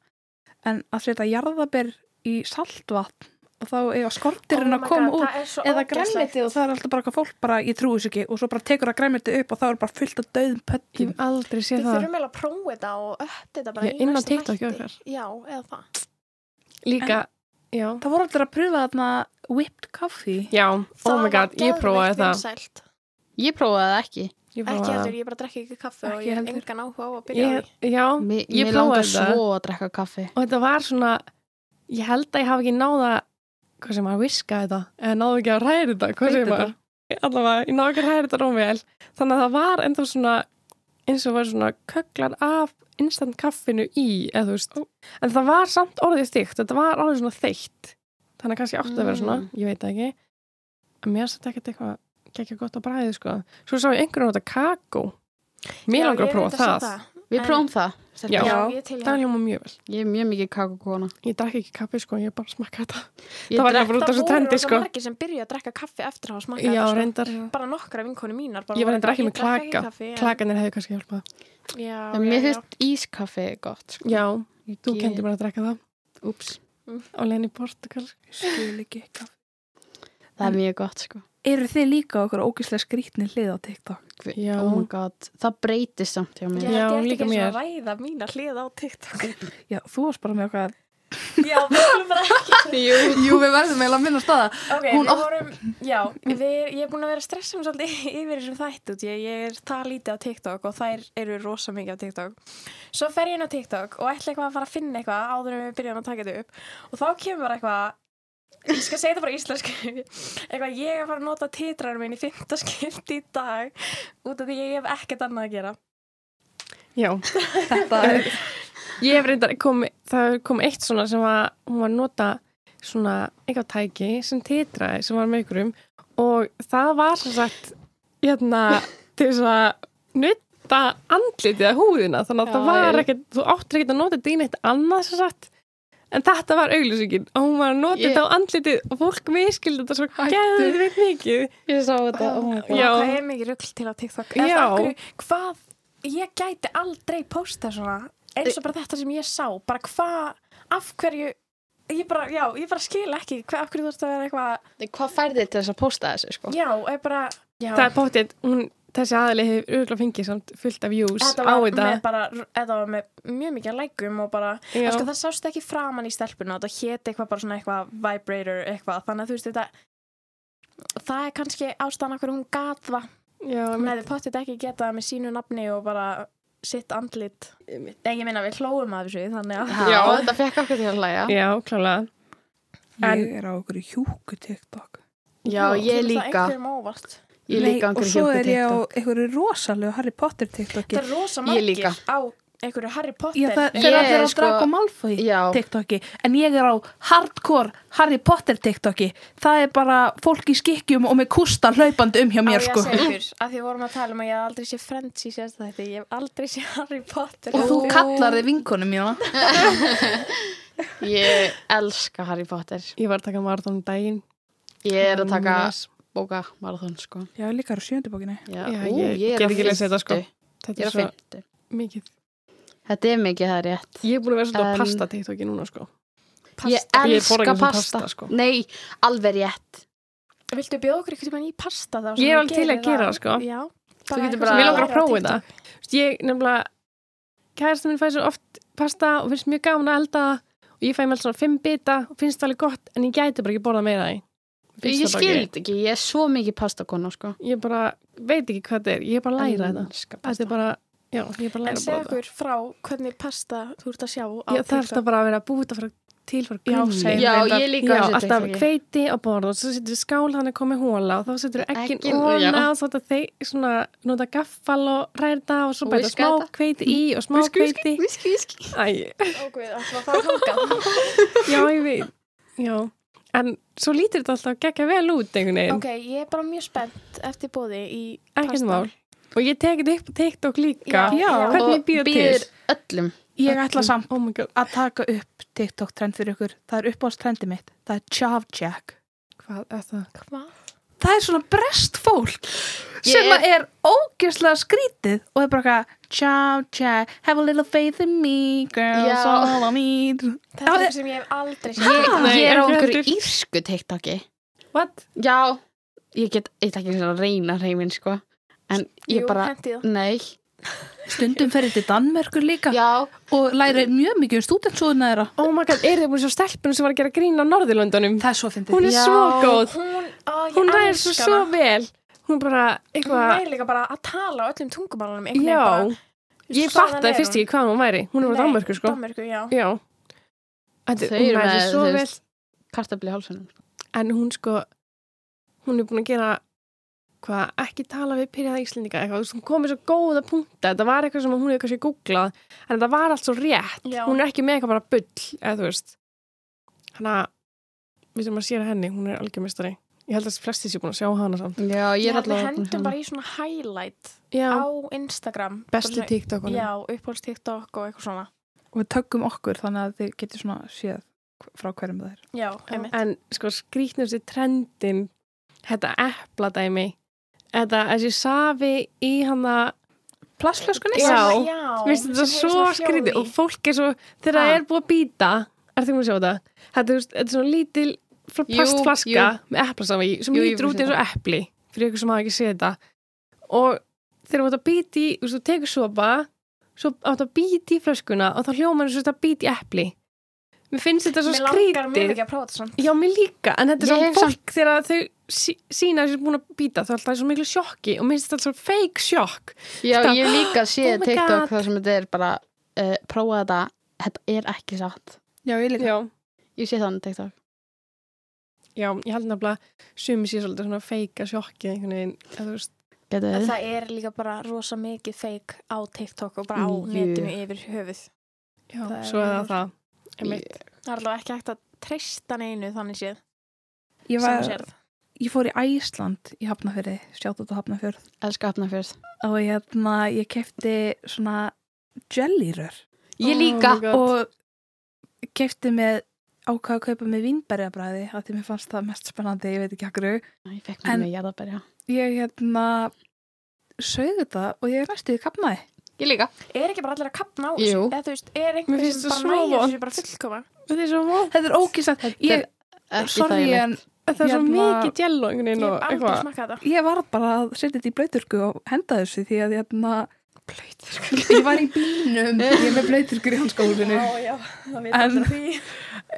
Speaker 4: En að setja jarðaber í saltvatn og þá eiga skortirinn
Speaker 1: Oh
Speaker 4: að
Speaker 1: my
Speaker 4: koma
Speaker 1: God,
Speaker 4: út
Speaker 1: það er svo
Speaker 4: eða
Speaker 1: ógeðslegt.
Speaker 4: græmiti og það er alltaf bara hvað fólk bara, ég trúi þessu ekki og svo bara tekur það græmiti upp og þá er bara fullt af döðum pöttum
Speaker 5: Ég hef aldrei séð
Speaker 1: Við
Speaker 5: það
Speaker 1: þurfum eiginlega að prófa þetta og ötti þetta bara
Speaker 5: Já, inn á
Speaker 1: næsta þætti.
Speaker 5: TikTok hjá ykkur.
Speaker 1: Já, eða það.
Speaker 5: líka, já,
Speaker 4: Það voru allir að pröfa þarna whipped coffee
Speaker 5: já, oh
Speaker 1: Það
Speaker 5: my god,
Speaker 1: var
Speaker 5: ég prófaði
Speaker 1: geðveikt
Speaker 5: það
Speaker 1: vinsælt.
Speaker 2: ég prófaði það ekki
Speaker 5: ég
Speaker 1: Ekki
Speaker 5: prófaði
Speaker 1: heldur,
Speaker 5: það
Speaker 1: ég bara drekki ekki kaffi og
Speaker 4: Ekki
Speaker 1: ég hef
Speaker 4: heldur.
Speaker 1: engan áhuga á að byrja á
Speaker 5: ég,
Speaker 1: því.
Speaker 5: já,
Speaker 2: mér,
Speaker 5: Ég
Speaker 2: mér
Speaker 5: prófaði
Speaker 2: langar
Speaker 5: það.
Speaker 2: svo að drekka kaffi
Speaker 5: og þetta var svona ég held að ég hafi ekki náða hvað sem maður viska þetta, eða náðu ekki að ræða þetta hvað
Speaker 4: Beita
Speaker 5: sem maður, allavega ég náðu ekki að ræða þetta rómvel, þannig að það var ennþá svona, eins og var svona köklar af instant kaffinu í eða þú veist, en það var samt orðið þygt, þetta var orðið svona þygt þannig að kannski átti að vera svona,
Speaker 2: Mm.
Speaker 5: ég veit það ekki en mér satt ekkert eitthvað ekki gott að bræði sko, svo sá ég einhverjum þetta kakó,
Speaker 1: Já,
Speaker 5: mér
Speaker 1: ég
Speaker 5: langar að prófa
Speaker 1: reyndar sá
Speaker 5: það,
Speaker 2: við
Speaker 1: En-
Speaker 2: prófum það
Speaker 5: Já.
Speaker 1: Já,
Speaker 2: stelpur.
Speaker 1: ég til í
Speaker 5: það
Speaker 1: það.
Speaker 5: ljóma mjög vel
Speaker 2: ég er mjög mikið kakokona
Speaker 5: ég drakk ekki kaffi sko, ég bara smakka þetta
Speaker 2: Ég
Speaker 5: það var
Speaker 2: drekk-
Speaker 5: ekki bara út af þessu
Speaker 1: voru
Speaker 5: trendi
Speaker 1: rosa
Speaker 5: sko
Speaker 1: margir sem byrjuðu að drekka kaffi eftir að hafa smakað
Speaker 5: já,
Speaker 1: þetta, sko.
Speaker 5: reyndar,
Speaker 1: bara nokkra vinkonu mínar bara
Speaker 5: Ég var
Speaker 1: voru
Speaker 5: reyndar ekki
Speaker 1: eitthvað, "Ég drekk
Speaker 5: með
Speaker 1: ekki
Speaker 5: klaka.
Speaker 1: kaffi", en-
Speaker 5: klakanir hefðu kannski hjálpað
Speaker 1: já,
Speaker 2: En
Speaker 1: já,
Speaker 2: mér
Speaker 1: já.
Speaker 2: finnst ískaffi gott sko.
Speaker 5: já, þú
Speaker 2: Ég-
Speaker 5: kendir mér að drekka það
Speaker 2: Úps,
Speaker 5: á leðin í Portugal
Speaker 4: skil ekki kaffi.
Speaker 2: það er mjög gott sko
Speaker 4: Eru þið líka okkur ógislega skrítni hlið á TikTok?
Speaker 5: Já.
Speaker 2: oh my god, það breytist samt hjá
Speaker 1: Ég
Speaker 2: mér
Speaker 1: held
Speaker 5: Já,
Speaker 1: ég ætti
Speaker 5: líka
Speaker 1: ekki einu
Speaker 5: mér.
Speaker 1: sinni að ræða mína hlið á TikTok
Speaker 4: Já, þú varst bara með okkar
Speaker 1: já, við vorum bara ekki
Speaker 4: Jú, við verðum eiginlega að minna staða
Speaker 1: ok,
Speaker 4: Hún
Speaker 1: við
Speaker 4: oft-
Speaker 1: vorum, já við, ég er búin að vera að stressa mig svolítið yfir þessum þætt út, ég, ég er það lítið á TikTok og þær eru rosa mikið á TikTok svo fer ég inn á TikTok og ætla eitthvað að fara að finna eitthvað áður en við byrjum að taka þetta upp og þá kemur bara eitthvað ég skal segja þetta bara á íslensku eitthvað ég er að fara að nota titrar minn í fimmtaskipt í dag út af því ég hef ekkert annað að gera
Speaker 5: já,
Speaker 4: Þetta er
Speaker 5: ég hef reyndar kom, það kom eitt svona sem var hún var að nota svona eitthvað tæki sem titraði sem var með ykkurum og það var sem sagt hérna til þess að nutta andlitið að húðina þannig að
Speaker 2: Já,
Speaker 5: það var
Speaker 2: ég-
Speaker 5: ekkert, þú áttir ekkert að nota þetta í neitt annað sem sagt en þetta var auglýsingin og hún var að nota
Speaker 2: Ég-
Speaker 5: þetta á andlitið og fólk miskildi þetta svo
Speaker 4: Hættu.
Speaker 5: geðvitt mikið
Speaker 2: Ég sá þetta, oh my
Speaker 1: Og
Speaker 5: Já.
Speaker 1: hvað er mikið rugl til á TikTok Eða
Speaker 5: Já.
Speaker 1: af hverju- Hvað, ég gæti aldrei posta svona eins og bara þetta sem ég sá bara hvað, af hverju ég bara, já, ég bara skil ekki hvað, af hverju þú ert að vera eitthvað
Speaker 2: god Hvað færði til þess að posta þessu sko?
Speaker 1: já, er bara, já,
Speaker 5: Ah. það er bóttið, hún, þessi aðli hefur örgulega fengið samt fullt af views
Speaker 1: þetta
Speaker 5: á
Speaker 1: var
Speaker 5: þetta
Speaker 1: með bara þetta var með mjög mikið lækum og bara
Speaker 5: Já.
Speaker 1: en sko, það sást ekki framan í stelpuna og þetta héti eitthvað bara svona eitthvað vibrator eitthvað, þannig að þú veist þetta það er kannski ástæðan af hverju hún gat það
Speaker 5: Já,
Speaker 1: Hún
Speaker 5: með,
Speaker 1: hefði pottit ekki getað með sínu nafni og bara sitt andlit. Nei, ég minna við hlóum af þessu, þannig að...
Speaker 2: Já,
Speaker 5: Já.
Speaker 2: þetta fekk okkur til að hlæja
Speaker 5: já klálega En-
Speaker 4: Ég er á okkur hjúku TikTok
Speaker 2: Já, ég
Speaker 1: Kemur
Speaker 2: líka,
Speaker 1: Það einhverjum á óvart.
Speaker 2: ég líka
Speaker 4: Nei, Og
Speaker 2: einhverju
Speaker 4: svo
Speaker 2: hjúku
Speaker 4: er ég á
Speaker 2: TikTok
Speaker 4: einhverju rosalegu Harry Potter TikToki
Speaker 1: Það er rosa
Speaker 2: Ég
Speaker 1: margir
Speaker 2: líka.
Speaker 1: á einhverju Harry Potter
Speaker 4: Ég, það,
Speaker 2: Ég
Speaker 4: þeir allir
Speaker 2: er
Speaker 4: á
Speaker 2: sko-
Speaker 4: Draco Malfoy
Speaker 2: Já.
Speaker 4: TikToki en ég er á hardcore Harry Potter TikToki það er bara fólk í skikkjum og með kústa hlaupandi um hjá
Speaker 1: Á
Speaker 4: mér
Speaker 1: ég
Speaker 4: sko
Speaker 1: að segja ykkur, að því við vorum að tala um að ég hef aldrei sé Friends í sérst þetta, ég hef aldrei sé Harry Potter
Speaker 4: og þú
Speaker 1: Ú.
Speaker 4: kallar þig vinkonum mína
Speaker 2: Ég elska Harry Potter.
Speaker 5: Ég var að taka marathón um daginn.
Speaker 2: Ég er að taka bóka marathon, sko.
Speaker 4: já líka á sjöndubókinu
Speaker 2: Já,
Speaker 5: Já,
Speaker 2: ú,
Speaker 5: ég
Speaker 2: er
Speaker 5: get
Speaker 2: á
Speaker 5: ekki lesið þetta, sko.
Speaker 2: fimmtu.
Speaker 5: Þetta er
Speaker 2: Ég er á
Speaker 5: svo
Speaker 2: fymtu.
Speaker 5: mikið.
Speaker 2: Þetta er mikið, það er rétt.
Speaker 5: Ég er búin að vera svolítið
Speaker 2: En-
Speaker 5: á pasta TikToki núna, sko.
Speaker 2: Ég
Speaker 5: Ég borða ekki
Speaker 2: elska
Speaker 5: einu sinni
Speaker 2: pasta.
Speaker 5: pasta, sko.
Speaker 2: Nei, alveg rétt.
Speaker 1: Viltu bjóða okkur eitthvað í pasta þá? sem
Speaker 5: Ég er
Speaker 1: ég
Speaker 5: alveg til
Speaker 1: geri
Speaker 5: að gera það, sko.
Speaker 1: Já
Speaker 2: Þú getur
Speaker 1: eitthvað
Speaker 2: bara-
Speaker 1: sem
Speaker 5: Mér
Speaker 1: ég
Speaker 5: langar að
Speaker 1: læri á
Speaker 5: prófa
Speaker 1: TikTok.
Speaker 5: þetta. Þú veist, Ég nefnilega, kærasta minn fæði svo oft pasta og finnst mjög gaman að elda það og ég fæði með allt svona fimm bita og finnst það alveg gott en ég gæti bara ekki borða meira það.
Speaker 2: Ég skild ekki, ég er svo mikið pastakona, sko.
Speaker 5: Ég bara veit ekki hvað þetta er. Ég er bara að læra þetta.
Speaker 2: Elska
Speaker 5: Þetta er
Speaker 2: pasta.
Speaker 5: bara, já, ég er bara að
Speaker 1: En
Speaker 5: læra að
Speaker 1: segja
Speaker 5: borða þetta.
Speaker 1: okkur frá hvernig pasta þú ert að sjá á
Speaker 5: Já, það er alltaf bara að vera að búið að fara til frá
Speaker 1: Já,
Speaker 5: grunni.
Speaker 1: same.
Speaker 2: Já, ég líka
Speaker 5: Já,
Speaker 2: þessu
Speaker 5: alltaf
Speaker 2: TikToki.
Speaker 5: kveiti á borð og svo setur við skál hann að koma í hóla og þá setur við
Speaker 2: Eggin,
Speaker 5: ekkin
Speaker 2: já.
Speaker 5: óna og svo þetta þeir svona nota gaffal og ræða og svo
Speaker 2: Og
Speaker 5: bæta
Speaker 2: viska
Speaker 5: smá
Speaker 2: þetta.
Speaker 5: kveiti í og smá
Speaker 2: Whisky,
Speaker 5: kveiti.
Speaker 2: Viski, viski.
Speaker 5: Æ,
Speaker 1: Ógvið, alltaf það þangað
Speaker 5: já, ég veit. Já, en svo lítur þetta alltaf gegga vel út einhvern veginn.
Speaker 1: Ok, ég er bara mjög spennt eftir bóði í
Speaker 5: Ekkert
Speaker 1: pasta.
Speaker 5: mál. Og ég tek þetta upp á TikTok líka.
Speaker 1: Já, já.
Speaker 5: Hvernig býður til?
Speaker 2: öllum.
Speaker 4: ég ætla samt
Speaker 5: Oh my god,
Speaker 4: að taka upp TikTok trend fyrir ykkur það er uppáhaldstrendið mitt það er Chav Jack
Speaker 5: hvað er það?
Speaker 1: Hvað?
Speaker 4: það er svona brest fólk
Speaker 2: Ég
Speaker 4: sem
Speaker 2: er-
Speaker 4: er, er ógjörnslega skrítið og er bara eitthvað Ciao, ciao, have a little faith in me, girls,
Speaker 2: Já.
Speaker 4: all I need
Speaker 1: Þetta
Speaker 4: Já,
Speaker 1: er
Speaker 4: þið-
Speaker 1: eitthvað sem ég hef aldrei
Speaker 2: Ég,
Speaker 1: séð.
Speaker 5: Nei,
Speaker 2: ég er á
Speaker 5: ekki
Speaker 2: einhverju
Speaker 5: heldur.
Speaker 2: írsku TikToki.
Speaker 5: What?
Speaker 2: Já, ég get eitt ekki einu sinni að reyna hreiminn, sko. En
Speaker 1: Jú,
Speaker 2: ég
Speaker 1: hérna.
Speaker 2: bara,
Speaker 1: hendi það.
Speaker 2: nei.
Speaker 4: Stundum ferði til Danmerkur líka
Speaker 2: Já,
Speaker 4: og læri mjög mikið um stúdentsóðuna þeirra
Speaker 5: Oh my god, er þið búin að sjá stelpunum sem var að gera grín á Norðurlöndunum?
Speaker 4: Það er svo fyndið
Speaker 5: Hún er
Speaker 2: Já.
Speaker 5: svo góð.
Speaker 1: Hún, á, ég
Speaker 5: Hún ræðir svo
Speaker 1: elska
Speaker 5: svo
Speaker 1: hana.
Speaker 5: vel. Hún bara,
Speaker 1: Hún
Speaker 5: eitthvað,
Speaker 1: væri líka bara að tala á öllum tungumálunum einhvern veginn
Speaker 5: já.
Speaker 1: bara-
Speaker 5: Ég
Speaker 1: Hvaðan
Speaker 5: fattaði
Speaker 1: er
Speaker 5: fyrst
Speaker 1: hún?
Speaker 5: ekki hvað hún væri. Hún er frá
Speaker 1: Nei,
Speaker 5: Danmarku, sko.
Speaker 1: Danmörku, já.
Speaker 5: Já. Þetta,
Speaker 2: Þau
Speaker 5: hún
Speaker 2: eru
Speaker 5: ræðir
Speaker 2: með,
Speaker 5: svo
Speaker 2: þú
Speaker 5: vel.
Speaker 2: veist, kartabli í hálsunum.
Speaker 5: En hún, sko, hún er búin að gera, hvað, ekki tala við pyrjaða íslendinga, eitthvað. Þú veist, Hún kom með svo góða punkta. Þetta var eitthvað sem hún hefur kannski googlað. En þetta var allt svo rétt.
Speaker 1: Já.
Speaker 5: Hún er ekki með eitthvað bara bull, eða þú veist. Hanna, við sem að sér henni, hún er algjörmestari. Ég held að flestir sér búin að sjá hana samt.
Speaker 2: Já, ég
Speaker 1: Ég
Speaker 2: er
Speaker 1: held við
Speaker 2: allavega búin að sjá
Speaker 1: hendum
Speaker 2: hana.
Speaker 1: bara í svona highlight
Speaker 5: um Já,
Speaker 1: á Instagram.
Speaker 5: bestu
Speaker 1: Bara svona-
Speaker 5: TikTokunum.
Speaker 1: Já, uppháls TikTok og eitthvað svona.
Speaker 4: Og við tökum okkur þannig að þið getur svona séð frá hverjum það er
Speaker 1: Já, einmitt.
Speaker 5: en sko skrýtnustu trendin þetta epladæmi þetta þessi safi í hana
Speaker 4: Plastflöskunni?
Speaker 5: Já.
Speaker 1: Sem- já.
Speaker 5: mér finnst þetta
Speaker 1: sem
Speaker 5: svo
Speaker 1: heyrir svona hljóð
Speaker 5: skrýti
Speaker 1: í.
Speaker 5: og fólk er svo, þegar það
Speaker 1: Ha.
Speaker 5: er búið að býta er það að sjá þetta þetta, þú veist, þetta er svona lítil fl-
Speaker 2: Jú,
Speaker 5: plastflaska með eplasafi í, sem
Speaker 2: Jú, ég
Speaker 5: lítur út
Speaker 2: vissi
Speaker 5: eins og epli fyrir ykkur sem hafa ekki séð þetta og þegar þú átt að býta í þú veist, þú tekur sopa svo átt að býta í flöskuna og þá hljómar eins og þetta býta í epli mér finnst þetta svo
Speaker 1: Mér
Speaker 5: skrítið
Speaker 1: langar mjög mikið að prófa þetta samt.
Speaker 5: Já, mér líka, en þetta
Speaker 2: Ég
Speaker 5: er
Speaker 2: hef
Speaker 5: svona fólk þegar þau sí, sína þessu búin að býta þá er alltaf í svo miklu sjokki og minnst þetta svona fake sjokk
Speaker 2: Já,
Speaker 5: Stað-
Speaker 2: ég hef líka
Speaker 5: Oh
Speaker 2: séð
Speaker 5: my
Speaker 2: TikTok
Speaker 5: God.
Speaker 2: þar sem þetta er bara, uh, prófa þetta, þetta er ekki satt.
Speaker 4: Já, ég líka
Speaker 5: Já,
Speaker 2: Ég sé þannig TikTok.
Speaker 5: já ég held nefnilega sumi sé svolítið svona fake að sjokki einhvern veginn, eða þú veist
Speaker 2: Getur
Speaker 1: En
Speaker 2: þið?
Speaker 1: það er líka bara rosa mikið feik á TikTok og bara á
Speaker 2: Jú.
Speaker 1: netinu yfir höfuð.
Speaker 5: já,
Speaker 4: Það er
Speaker 5: Svo er
Speaker 4: alveg-
Speaker 5: það það Einmitt.
Speaker 1: Það er alveg ekki hægt að treysta neinu þannig séð. sem
Speaker 4: Ég,
Speaker 1: þú
Speaker 4: var,
Speaker 1: sérð.
Speaker 4: ég fór í Æsland í Hafnafjörði, sjátt út á Hafnafjörð
Speaker 2: Elskar Hafnarfjörð.
Speaker 4: og hérna, ég kefti svona jellyrör
Speaker 5: Oh
Speaker 2: Ég líka.
Speaker 5: my God.
Speaker 4: og kefti með ákvaða að kaupa með vínberjabræði að því mér fannst það mest spennandi, ég veit ekki akkur
Speaker 2: Ég fekk
Speaker 4: En-
Speaker 2: mér með jarðabæri, já.
Speaker 4: ég hérna sögðu það og ég næstu því kapnaði
Speaker 2: Ég líka.
Speaker 1: Er ekki bara allir að kapna á
Speaker 2: Jú.
Speaker 1: Eða þú veist, er
Speaker 5: Mér
Speaker 1: einhver
Speaker 5: finnst
Speaker 1: sem
Speaker 5: það
Speaker 1: bara
Speaker 5: svo
Speaker 1: nægir
Speaker 5: vont.
Speaker 1: þessu bara fullkoma?
Speaker 5: Þetta er svo vond,
Speaker 4: þetta er ógísað
Speaker 2: er
Speaker 4: ég, sorry en
Speaker 5: það er svo
Speaker 4: Hérna-
Speaker 5: mikið jello einhvern
Speaker 1: Ég
Speaker 5: veginn
Speaker 1: hef
Speaker 5: og
Speaker 1: aldrei
Speaker 5: eitthvað
Speaker 1: smakað þetta.
Speaker 4: ég var bara að setja þetta í blöyturku og henda þessu því að hérna blöyturku ég var í bílnum, ég er með blöyturkur í hanskólinu
Speaker 1: Já, já, það veit
Speaker 4: En-
Speaker 1: aldrei því.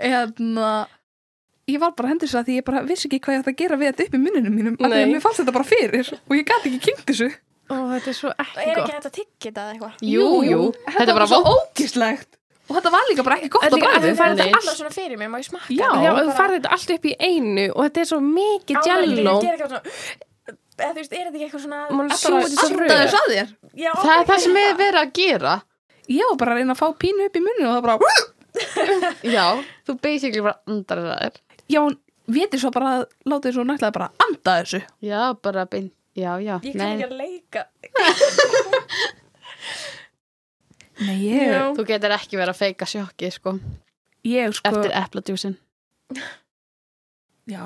Speaker 4: hérna ég var bara að henda þessu að því ég bara vissi ekki hvað ég ætti að gera við þetta upp í munninum mínum af því
Speaker 5: Nei.
Speaker 4: að mér fannst þetta bara fyrir og ég gæti ekki kynnt þessu
Speaker 5: og þetta er svo ekki
Speaker 1: Er ekki
Speaker 5: gott
Speaker 1: hægt að tiggja þetta eða eitthvað?
Speaker 2: Jú, jú. Þetta er
Speaker 4: var
Speaker 2: bara
Speaker 4: svo
Speaker 2: vond.
Speaker 4: ógíslegt og þetta var líka bara ekki gott
Speaker 5: En
Speaker 4: að
Speaker 5: líka-
Speaker 4: bræði
Speaker 5: en það er
Speaker 1: Það
Speaker 5: Nei.
Speaker 1: er allar svona fyrir mér, má ég smakka
Speaker 4: Já,
Speaker 5: Já, og þú
Speaker 1: Bara-
Speaker 5: farði þetta allt upp í einu og þetta er svo mikið
Speaker 1: Ég
Speaker 5: jello
Speaker 1: ger eitthvað svona Eða þú veist, er þetta ekki eitthvað svona
Speaker 5: og mann
Speaker 1: Allar
Speaker 5: svo
Speaker 1: að-
Speaker 5: þetta svo
Speaker 1: allar-
Speaker 5: röð
Speaker 4: að þér
Speaker 1: Já,
Speaker 2: Það er
Speaker 1: ok,
Speaker 2: það sem
Speaker 1: ég-
Speaker 2: við verið að gera.
Speaker 4: ég var bara að reyna að fá pínu upp í munni og það bara,
Speaker 2: Já, þú basically bara andrar það þér.
Speaker 4: já, hún viti svo bara að láta þessu og nættilega bara að anda þessu
Speaker 2: Já, bara beint, já, já.
Speaker 1: Ég kann ekki að leika.
Speaker 4: Nei, ég,
Speaker 1: Já.
Speaker 2: Þú getur ekki verið að feika sjokki, sko,
Speaker 4: ég sko
Speaker 2: eftir epladjúsin.
Speaker 4: Já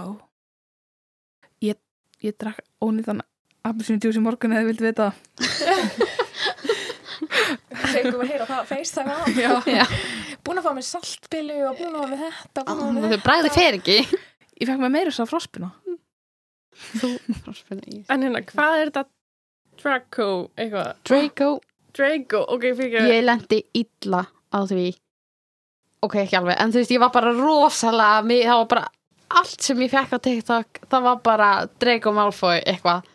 Speaker 4: Ég, ég drakk ónýttan appelsinu djús í morgun eða þið vildi vita
Speaker 1: Fengum að heyra það, FaceTime á.
Speaker 4: Já.
Speaker 2: Já.
Speaker 1: Búin að fá mér saltbilu og búin að fá mér þetta, búin að fá mér
Speaker 2: Þú
Speaker 1: þetta.
Speaker 2: bræði fer ekki.
Speaker 4: Ég fekk mér meira þess að frospina
Speaker 5: En hérna, hvað er þetta Draco, eitthvað?
Speaker 2: Draco,
Speaker 5: Draco, ok, fyrir ekki.
Speaker 2: ég lendi illa á því. Ok, ekki alveg, en þú veist, ég var bara rosalega, mér, það var bara allt sem ég fekk á TikTok, það var bara Draco Malfoy, eitthvað.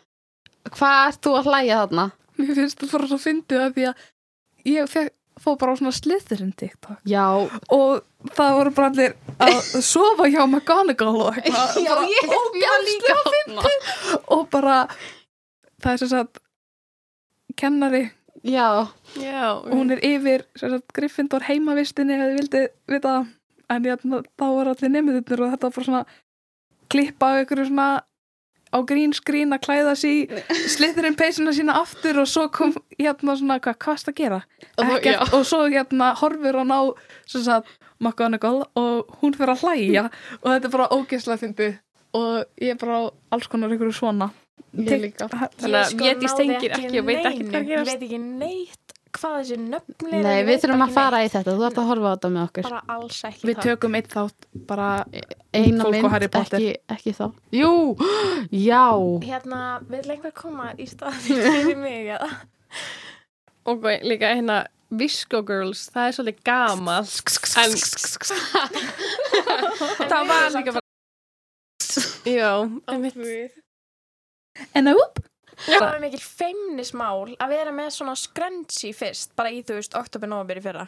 Speaker 2: Hvað ert þú að hlæja þarna?
Speaker 4: Mér finnst það bara svo fyndið að því að ég fekk, fór bara á svona sliðurinn TikTok
Speaker 2: Já,
Speaker 4: og það voru bara allir að sofa hjá McGonagall og eitthvað
Speaker 2: já,
Speaker 4: bara,
Speaker 2: ég var líka þarna.
Speaker 4: og bara það er sem sagt kennari,
Speaker 2: Já,
Speaker 5: Já, ok.
Speaker 4: hún er yfir sem sagt Gryffindor heimavistinni eða þið vildi vita það. en ég, þá voru allir nefnir og þetta var bara svona klippa á ykkur svona á grín skrín að klæða sig slithurinn peysuna sína aftur og svo kom hérna svona, hvað, hvað varst að gera?
Speaker 2: Og þá-
Speaker 4: Ekkert, og svo hérna horfir hann á sem sagt, McGonagall og hún fyrir að hlæja og þetta er bara ógeðslega fyndið og ég er bara á alls konar ykkur svona
Speaker 2: ég líka.
Speaker 5: Þannig að
Speaker 1: sko
Speaker 5: Védís
Speaker 1: náði
Speaker 5: tengir ekki og veit ekki
Speaker 1: neinu.
Speaker 5: hvað
Speaker 1: Ég
Speaker 5: gerast.
Speaker 1: veit ekki neitt hvað þessi nöfnir.
Speaker 2: Nei, við þurfum að fara í þetta, þú ert að horfa á þetta með okkur.
Speaker 1: Bara alls ekki
Speaker 4: Við tökum eitt þátt bara
Speaker 2: Eina
Speaker 4: fólk og Harry
Speaker 2: mynd,
Speaker 4: Potter.
Speaker 2: ekki, ekki þá. Jú, já,
Speaker 1: Hérna, vil einhver koma í staðin fyrir mig eða?
Speaker 5: Og líka hérna, Visco Girls, það er svolítið gamalt. En,
Speaker 1: Það var líka bara
Speaker 5: já, en mitt.
Speaker 4: en að upp
Speaker 1: Það var mikil feimnismál að vera með svona scrunchie fyrst bara í þú veist oktober november í fyrra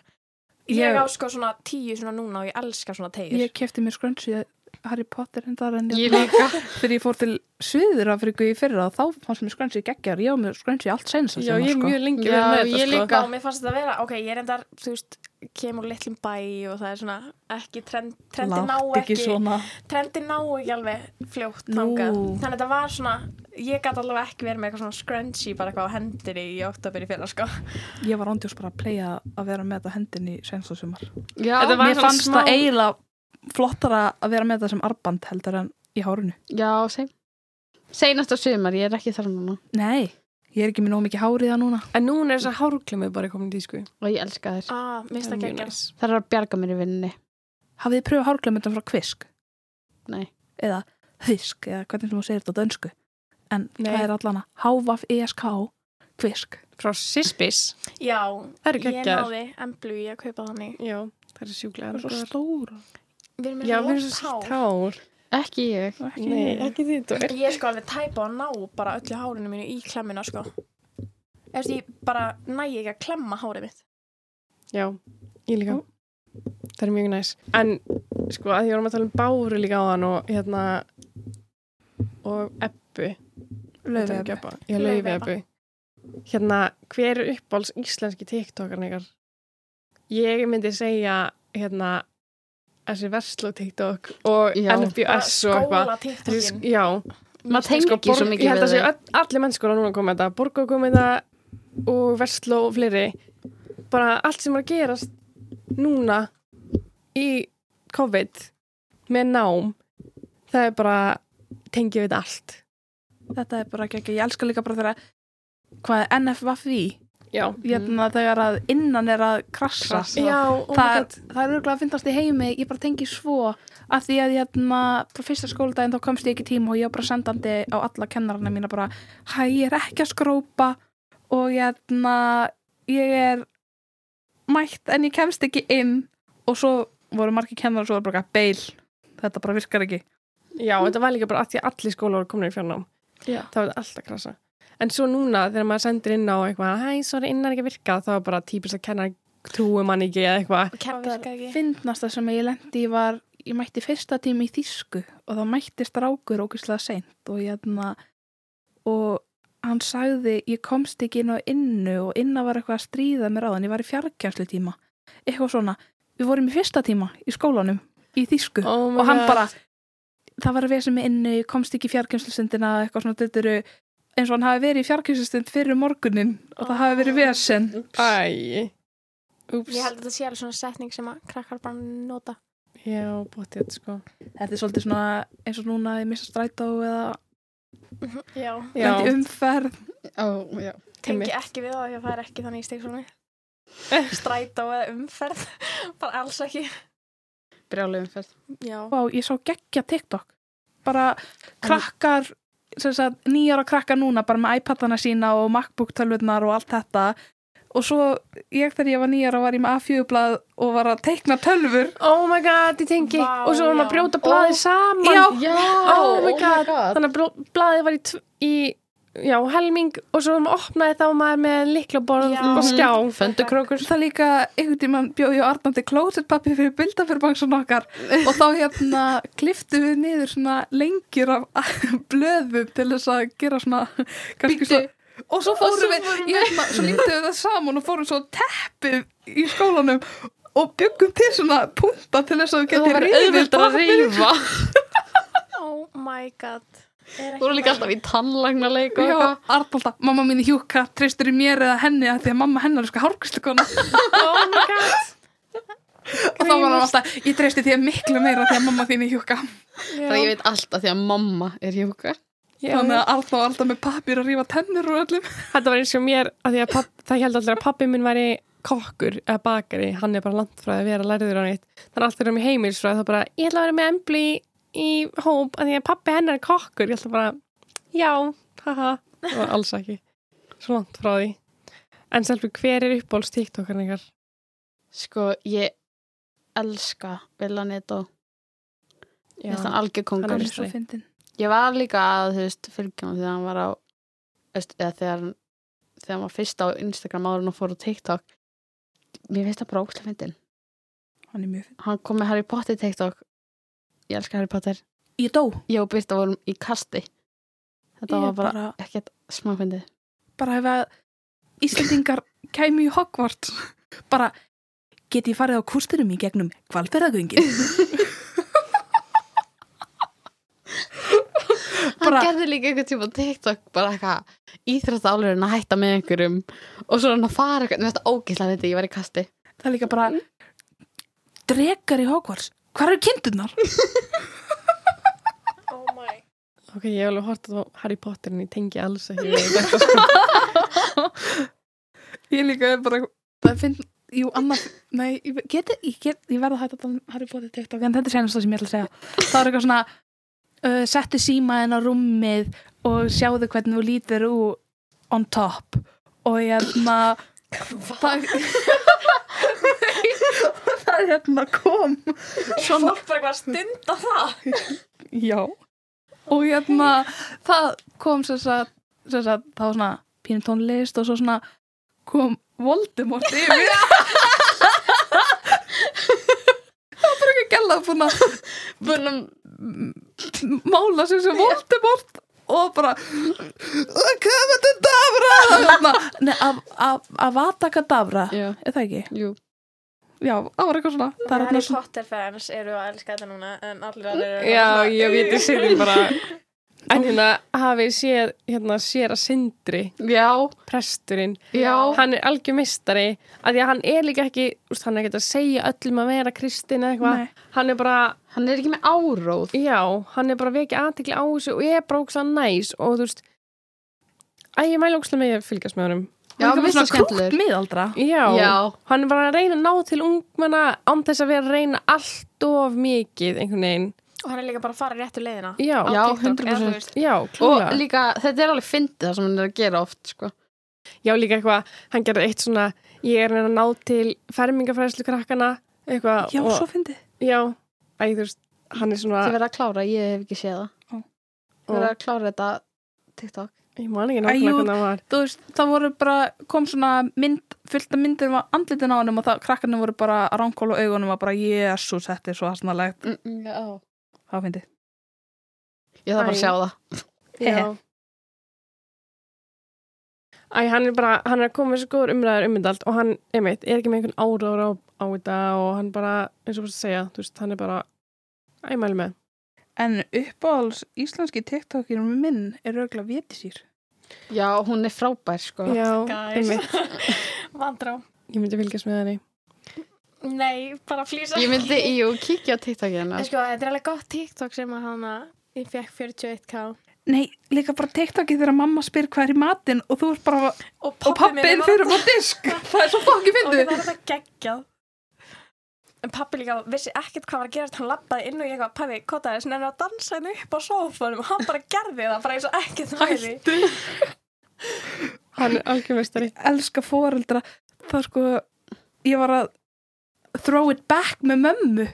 Speaker 1: Ég á sko svona tíu svona núna og ég elska svona tegir
Speaker 4: Ég kefti mér skrönsi Harry Potter en það er enn
Speaker 2: ég líka.
Speaker 4: Þegar ég fór til Suður Afriku í fyrra þá fannst mér skrönsi geggjar Ég á mér skrönsi allt senst
Speaker 5: Já, ég er mjög lengi
Speaker 2: Já,
Speaker 5: verið með þetta,
Speaker 2: ég
Speaker 5: sko.
Speaker 2: líka.
Speaker 1: Já, mér fannst þetta að vera, ok, ég er endar, þú veist, kemur úr litlum bæ og það er svona ekki, trend, trendi ná
Speaker 4: Látt
Speaker 1: ekki,
Speaker 4: ekki svona
Speaker 1: trendi ná ekki alveg fljótt
Speaker 4: Nú.
Speaker 1: þangað. Þannig að þetta var svona, ég gæti allavega ekki verið með eitthvað svona scrunchie bara eitthvað á hendinni í oktober í fyrra, sko.
Speaker 4: Ég var ándjós bara að playa að vera með þetta hendin í senst og sumar
Speaker 2: Já,
Speaker 5: Þetta var
Speaker 4: Mér
Speaker 5: svona
Speaker 4: fannst
Speaker 5: smá-
Speaker 4: það eiginlega flottara að vera með þetta sem arband heldur en í hárinu
Speaker 2: já, sem. Seinasta sumar, ég er ekki þar núna
Speaker 4: Nei, ég er ekki með nóg mikið háriða núna
Speaker 5: En núna er þess að hárklemi bara komin í tísku.
Speaker 2: og ég elska þér.
Speaker 1: Ah, mér finnst það
Speaker 5: mjög
Speaker 1: geggjað.
Speaker 5: næs.
Speaker 2: Það er að bjarga mér í vinninni.
Speaker 4: Hafið þið pröfuð hárklemmundan frá kvisk?
Speaker 2: Nei.
Speaker 4: Eða hvisk, eða hvernig sem þú segir þetta á dönsku En
Speaker 5: Nei.
Speaker 4: hvað er allana? Hávaf ESK Kvisk
Speaker 5: Frá Sispis.
Speaker 1: Já,
Speaker 5: Það eru
Speaker 1: ég
Speaker 5: geggjaðar.
Speaker 1: náði emblu í að kaupa þannig.
Speaker 5: Já, það er
Speaker 4: Það
Speaker 5: sjúklega.
Speaker 4: er svo
Speaker 5: góðar.
Speaker 4: stóra
Speaker 1: Við erum
Speaker 5: Já,
Speaker 1: með
Speaker 5: við erum
Speaker 1: lótt
Speaker 5: svo sítt
Speaker 1: hár.
Speaker 5: hár.
Speaker 2: Ekki ég.
Speaker 4: Ekki
Speaker 5: Nei,
Speaker 4: ég.
Speaker 5: ekki þitt. og er-
Speaker 1: Ég er sko alveg tæpa að ná bara öllu hárinu mínu í klemmina, sko. Eftir ég bara næ ekki að klemma hárið mitt.
Speaker 5: Já, ég líka. Það er mjög næs. En sko, að því vorum að tala um Báru líka á hann og hérna og Ebbu.
Speaker 4: Laufey Ebbu.
Speaker 5: Ebbu. Já,
Speaker 1: Laufey
Speaker 5: Laufi Ebbu. Hérna, hver er uppáls íslenski tiktokarinn ykkar? Ég myndi segja hérna þessi verslu tiktok og
Speaker 2: Já.
Speaker 1: Bara
Speaker 5: NFBS og eitthvað.
Speaker 1: skóla
Speaker 5: Þessi sk-
Speaker 1: tiktokin.
Speaker 5: Já,
Speaker 2: Maður tengir ekki svo
Speaker 5: borg-
Speaker 2: mikið
Speaker 5: ég held
Speaker 2: við
Speaker 5: að
Speaker 2: þau.
Speaker 5: segja allir mennskóla núna komið þetta, borga komið þetta og versló og fleiri bara allt sem er að gerast núna í COVID með nám það er bara tengið við þetta allt
Speaker 4: Þetta er bara ekki, ég elska líka bara þegar hvað er NFVFI
Speaker 5: já,
Speaker 2: Mm.
Speaker 4: hérna þegar að innan er að krassa
Speaker 2: Krassa.
Speaker 5: já oh
Speaker 4: það, er- það er örgulega að finnast í heimi ég bara tengi svo að því að hérna, frá fyrsta skóldaginn þá komst ég ekki í tíma og ég var bara sendandi á alla kennarana mína bara, hæ, ég er ekki að skrópa og hérna ég er mætt en ég kemst ekki inn og svo voru margir kennarar svo var bara beil, þetta bara virkar ekki
Speaker 5: já, þetta var líka bara að því að allir skóla voru komin í fjarnám
Speaker 4: Já.
Speaker 5: það var alltaf krasa en svo núna þegar maður sendir inn á eitthvað hæ, sorry, innan ekki að virka þá er bara típist að kenna trúum hann ekki eða eitthvað
Speaker 1: Kemma virka ekki.
Speaker 4: finnast það sem ég lendi var ég mætti fyrsta tími í þýsku og þá mætti strákur ógeðslega seint og ég hérna og hann sagði ég komst ekki inn á innu og inna var eitthvað að stríða mér á þann, ég var í fjarkjænslu tíma eitthvað svona, við vorum í fyrsta tíma í skólanum, í þýsku
Speaker 5: oh my
Speaker 4: og hann
Speaker 5: God.
Speaker 4: bara, það var að vera sem innu ég komst ekki í fjarkjænslustundina eitthvað svona, þetta eru eins og hann hafi verið í fjarkjænslustund fyrir morgunin og það hafi verið vesen
Speaker 5: Æ, úps
Speaker 1: Ég held að þetta sé alveg svona setning sem að krakkar bara nota.
Speaker 5: Já, bóttið, sko
Speaker 4: þetta er svolítið svona eins og núna ég missa strætó eða
Speaker 1: Já.
Speaker 5: Já.
Speaker 4: lendi umferð
Speaker 2: Ó, já.
Speaker 1: Tengi
Speaker 5: Einmitt.
Speaker 1: ekki við það, því að það er ekki þannig í stíksónu. Strætó eða umferð, bara alls ekki.
Speaker 2: Brjálu umferð.
Speaker 1: Já.
Speaker 4: Vá, ég sá geggja TikTok bara krakkar sem sagt, nýjara krakkar núna bara með iPadana sína og MacBook tölvurnar og allt þetta og svo ég þegar ég var nýjara var ég með A4-blað og var að teikna tölvur
Speaker 5: Oh my god, ég tengi
Speaker 1: Vá,
Speaker 5: Og svo var hann
Speaker 1: já.
Speaker 5: að brjóta blaðið saman
Speaker 4: Já.
Speaker 2: Já,
Speaker 5: Oh my god.
Speaker 2: god.
Speaker 5: Þannig að bró- blaðið var í, tv- í Já, helming Og svo þegar maður opnaði þá var maður með liklaborð
Speaker 1: Já.
Speaker 5: og skjá
Speaker 4: Og
Speaker 5: Föndukrókur
Speaker 4: það líka einhvern tímann bjóði ég á Arnandi klósetpappi fyrir bildafyrbangsun okkar og þá hérna kliftu við niður svona lengjur af blöðum til þess að gera svona kannski svo og svo fórum
Speaker 5: svo
Speaker 4: við, ég hérna, svo líktum við það saman og fórum svo á teppið í skólanum og byggum til svona punta til þess að þú
Speaker 5: Það
Speaker 4: getur
Speaker 5: var
Speaker 4: rifið
Speaker 5: auðvitað að
Speaker 4: pappírinn.
Speaker 5: rífa
Speaker 1: Oh my god. Er
Speaker 2: Þú eru líka alltaf í tannlagna leik
Speaker 5: sko.
Speaker 2: og
Speaker 4: Já,
Speaker 2: eitthvað.
Speaker 4: Arnalda, mamma mín í hjúka, treystur í mér eða henni að því að mamma hennar er sko hárkvistlukona
Speaker 5: Oh my god
Speaker 4: og þá var hann alltaf, ég treysti því miklu meira því að mamma þín í hjúka
Speaker 2: Það ég veit alltaf því að mamma er hjókar.
Speaker 4: Þannig að Arna var alltaf með pappir að rífa tennur og öllum.
Speaker 5: Þetta var eins og mér að að papp, Það held allir að pappi minn væri kokkur eða bakari, hann er bara landfræði að vera læriður á neitt, þannig að allt þeirra með heimilsfræði þá bara, ég ætla að vera með embli í hóp, að því að pappi hennar er kokkur ég ætla bara, já, haha það var alls ekki, svo langt frá því en selvi, hver er uppbóls tiktokarinn ykkar?
Speaker 2: Sko, ég elska Villan Edo. Ég finnst hann algjör
Speaker 5: Hann
Speaker 2: kongur.
Speaker 5: er- svo
Speaker 4: fyndin.
Speaker 2: Ég var líka að, þú veist, fylgja hann þegar hann var á, veist, eða þegar hann, þegar hann var fyrst á Instagram áður en hann fór á TikTok. Mér finnst það bara ókslega fyndin.
Speaker 4: Hann er mjög fyndin.
Speaker 2: Hann kom með Harry Potter TikTok. Ég elska Harry Potter.
Speaker 4: Ég dó.
Speaker 2: Ég og Birta vorum í kasti. Þetta
Speaker 4: ég
Speaker 2: var bara, ekkert smá fyndið.
Speaker 4: bara ef að Íslandingar kæmi í Hogwarts. Bara, get ég farið á kústinum í gegnum kvalferðagöngin?
Speaker 2: Hann
Speaker 4: Bara-
Speaker 2: gerði líka einhvern tíma TikTok bara eitthvað íþrættálurinn að hætta með einhverjum og svo er hann að fara eitthvað, mér finnst það ógislega fyndið, ég var í kasti.
Speaker 4: Það er líka bara, drekar í Hogwarts. Hvar eru kindurnar?
Speaker 1: Oh my.
Speaker 5: Ok, ég hef alveg hortið á Harry Potter en ég tengi alls ekki við þetta sko.
Speaker 4: Ég líka er bara, það finn, jú, annað, nei, ég get, ég get, ég verða hægt að tala um Harry Potter TikTok, en þetta er senast það sem ég ætla að segja. Það er eitthvað svona, uh, settu símaðin á rúmið og sjáðu hvernig þú lítir úr on top og hérna, það, það hérna kom,
Speaker 1: Svona. Fólk bara eitthvað að stunda það.
Speaker 4: já, og hérna, það kom sem sagt, sem sagt, það var svona pínu tónlist og svo svona kom Voldemort yfir. gæla búin að
Speaker 2: Búinum,
Speaker 4: m- mála sig sem Voldemort og bara kafa þetta dabra að vata kadabra
Speaker 2: já,
Speaker 4: er það ekki?
Speaker 2: jú.
Speaker 4: Já, það var eitthvað svona það er
Speaker 1: Harry
Speaker 4: eitthvað svona
Speaker 1: Potter fans eru að elska þetta núna en allir að eru
Speaker 5: Já, ég viti sér bara En hérna hafið séð hérna, sér að sindri
Speaker 2: Já,
Speaker 5: presturinn
Speaker 2: já.
Speaker 5: hann er algjör mistari að því að hann er líka ekki, úst, hann er ekki að segja öllum að vera kristin eða
Speaker 4: Nei.
Speaker 5: eitthvað hann er bara,
Speaker 2: Hann er ekki með áróð.
Speaker 5: já, hann er bara vekið aðtekli á þessu og er bara ógslag næs og þú veist Æ, ég mæla ógslag með að fylgjast með honum
Speaker 2: Já,
Speaker 4: Líka bara
Speaker 2: mér finnst það
Speaker 4: svona krútt
Speaker 2: skemmtilegur.
Speaker 4: miðaldra
Speaker 5: Já,
Speaker 2: Já.
Speaker 5: hann var að reyna að ná til ungmenna án þess að vera að reyna allt of mikið einhvern veginn
Speaker 1: Og hann er líka bara að fara réttu leiðina.
Speaker 5: Já,
Speaker 1: á
Speaker 5: já,
Speaker 2: Já,
Speaker 1: TikTok, eða þú
Speaker 2: 100%.
Speaker 1: veist,
Speaker 5: klálega
Speaker 2: Og líka, þetta er alveg fyndið það sem hann er að gera oft, sko.
Speaker 5: Já, líka eitthvað, hann gerði eitt svona ég er að reyna að ná til fermingafræðslu krakkana eitthvað
Speaker 4: Já,
Speaker 5: og,
Speaker 4: svo fyndi
Speaker 5: já, æ, þú veist hann er svona
Speaker 2: Þið verða að klára, ég hef ekki
Speaker 4: Ó.
Speaker 2: séð það. Þið verða að klára þetta TikTok.
Speaker 5: Ég man
Speaker 4: Æ,
Speaker 5: ekki nákvæmlega
Speaker 4: jú.
Speaker 5: hvernig það var.
Speaker 4: Þú veist, það voru bara, kom svona mynd, fullt af myndir var andlitin á honum og það, krakkarnir voru bara að ránkóla augunum og bara, jésús, þetta er svo hasnalegt
Speaker 2: Mm, mm, já.
Speaker 4: það fyndi
Speaker 2: Ég þarf bara að
Speaker 5: Æ.
Speaker 2: sjá það.
Speaker 4: Hehe.
Speaker 5: Já. Æ, hann er bara, hann er að koma með svo góður umræður ummyndald og hann, einmitt, er ekki með einhvern árára á, á þetta og hann bara, eins og bara segja, þú veist, hann er bara, æ, mælu með.
Speaker 4: En uppáhalds íslenski tiktokir minn er auðvitað vétisýr.
Speaker 2: Já, hún er frábær, sko.
Speaker 5: Já,
Speaker 1: Guys.
Speaker 5: einmitt,
Speaker 1: Vandrá.
Speaker 5: ég myndi fylgjast með henni.
Speaker 1: Nei, bara flýsa.
Speaker 2: Ég myndi, jú, kíkja á TikTok hérna.
Speaker 1: En sko, þetta er alveg gott TikTok sem að hana, ég fekk 41k.
Speaker 4: Nei, líka bara tiktokið þegar mamma spyr hvað er í matinn og þú ert bara
Speaker 1: Og
Speaker 4: og pappin fyrir á disk. það er svo fokkið
Speaker 1: Og það
Speaker 4: fyndið.
Speaker 1: er þetta geggjað. En pappi líka vissi ekkert hvað var að gerast, hann lappaði inn og ég eitthvað, pappi, kottaði þess, nefnir að dansa henni upp á sófanum og hann bara gerði það, bara eins og ekkert væri.
Speaker 5: Hann er algjörmestari.
Speaker 4: Elska foreldra. Það er sko, ég var að throw it back með mömmu.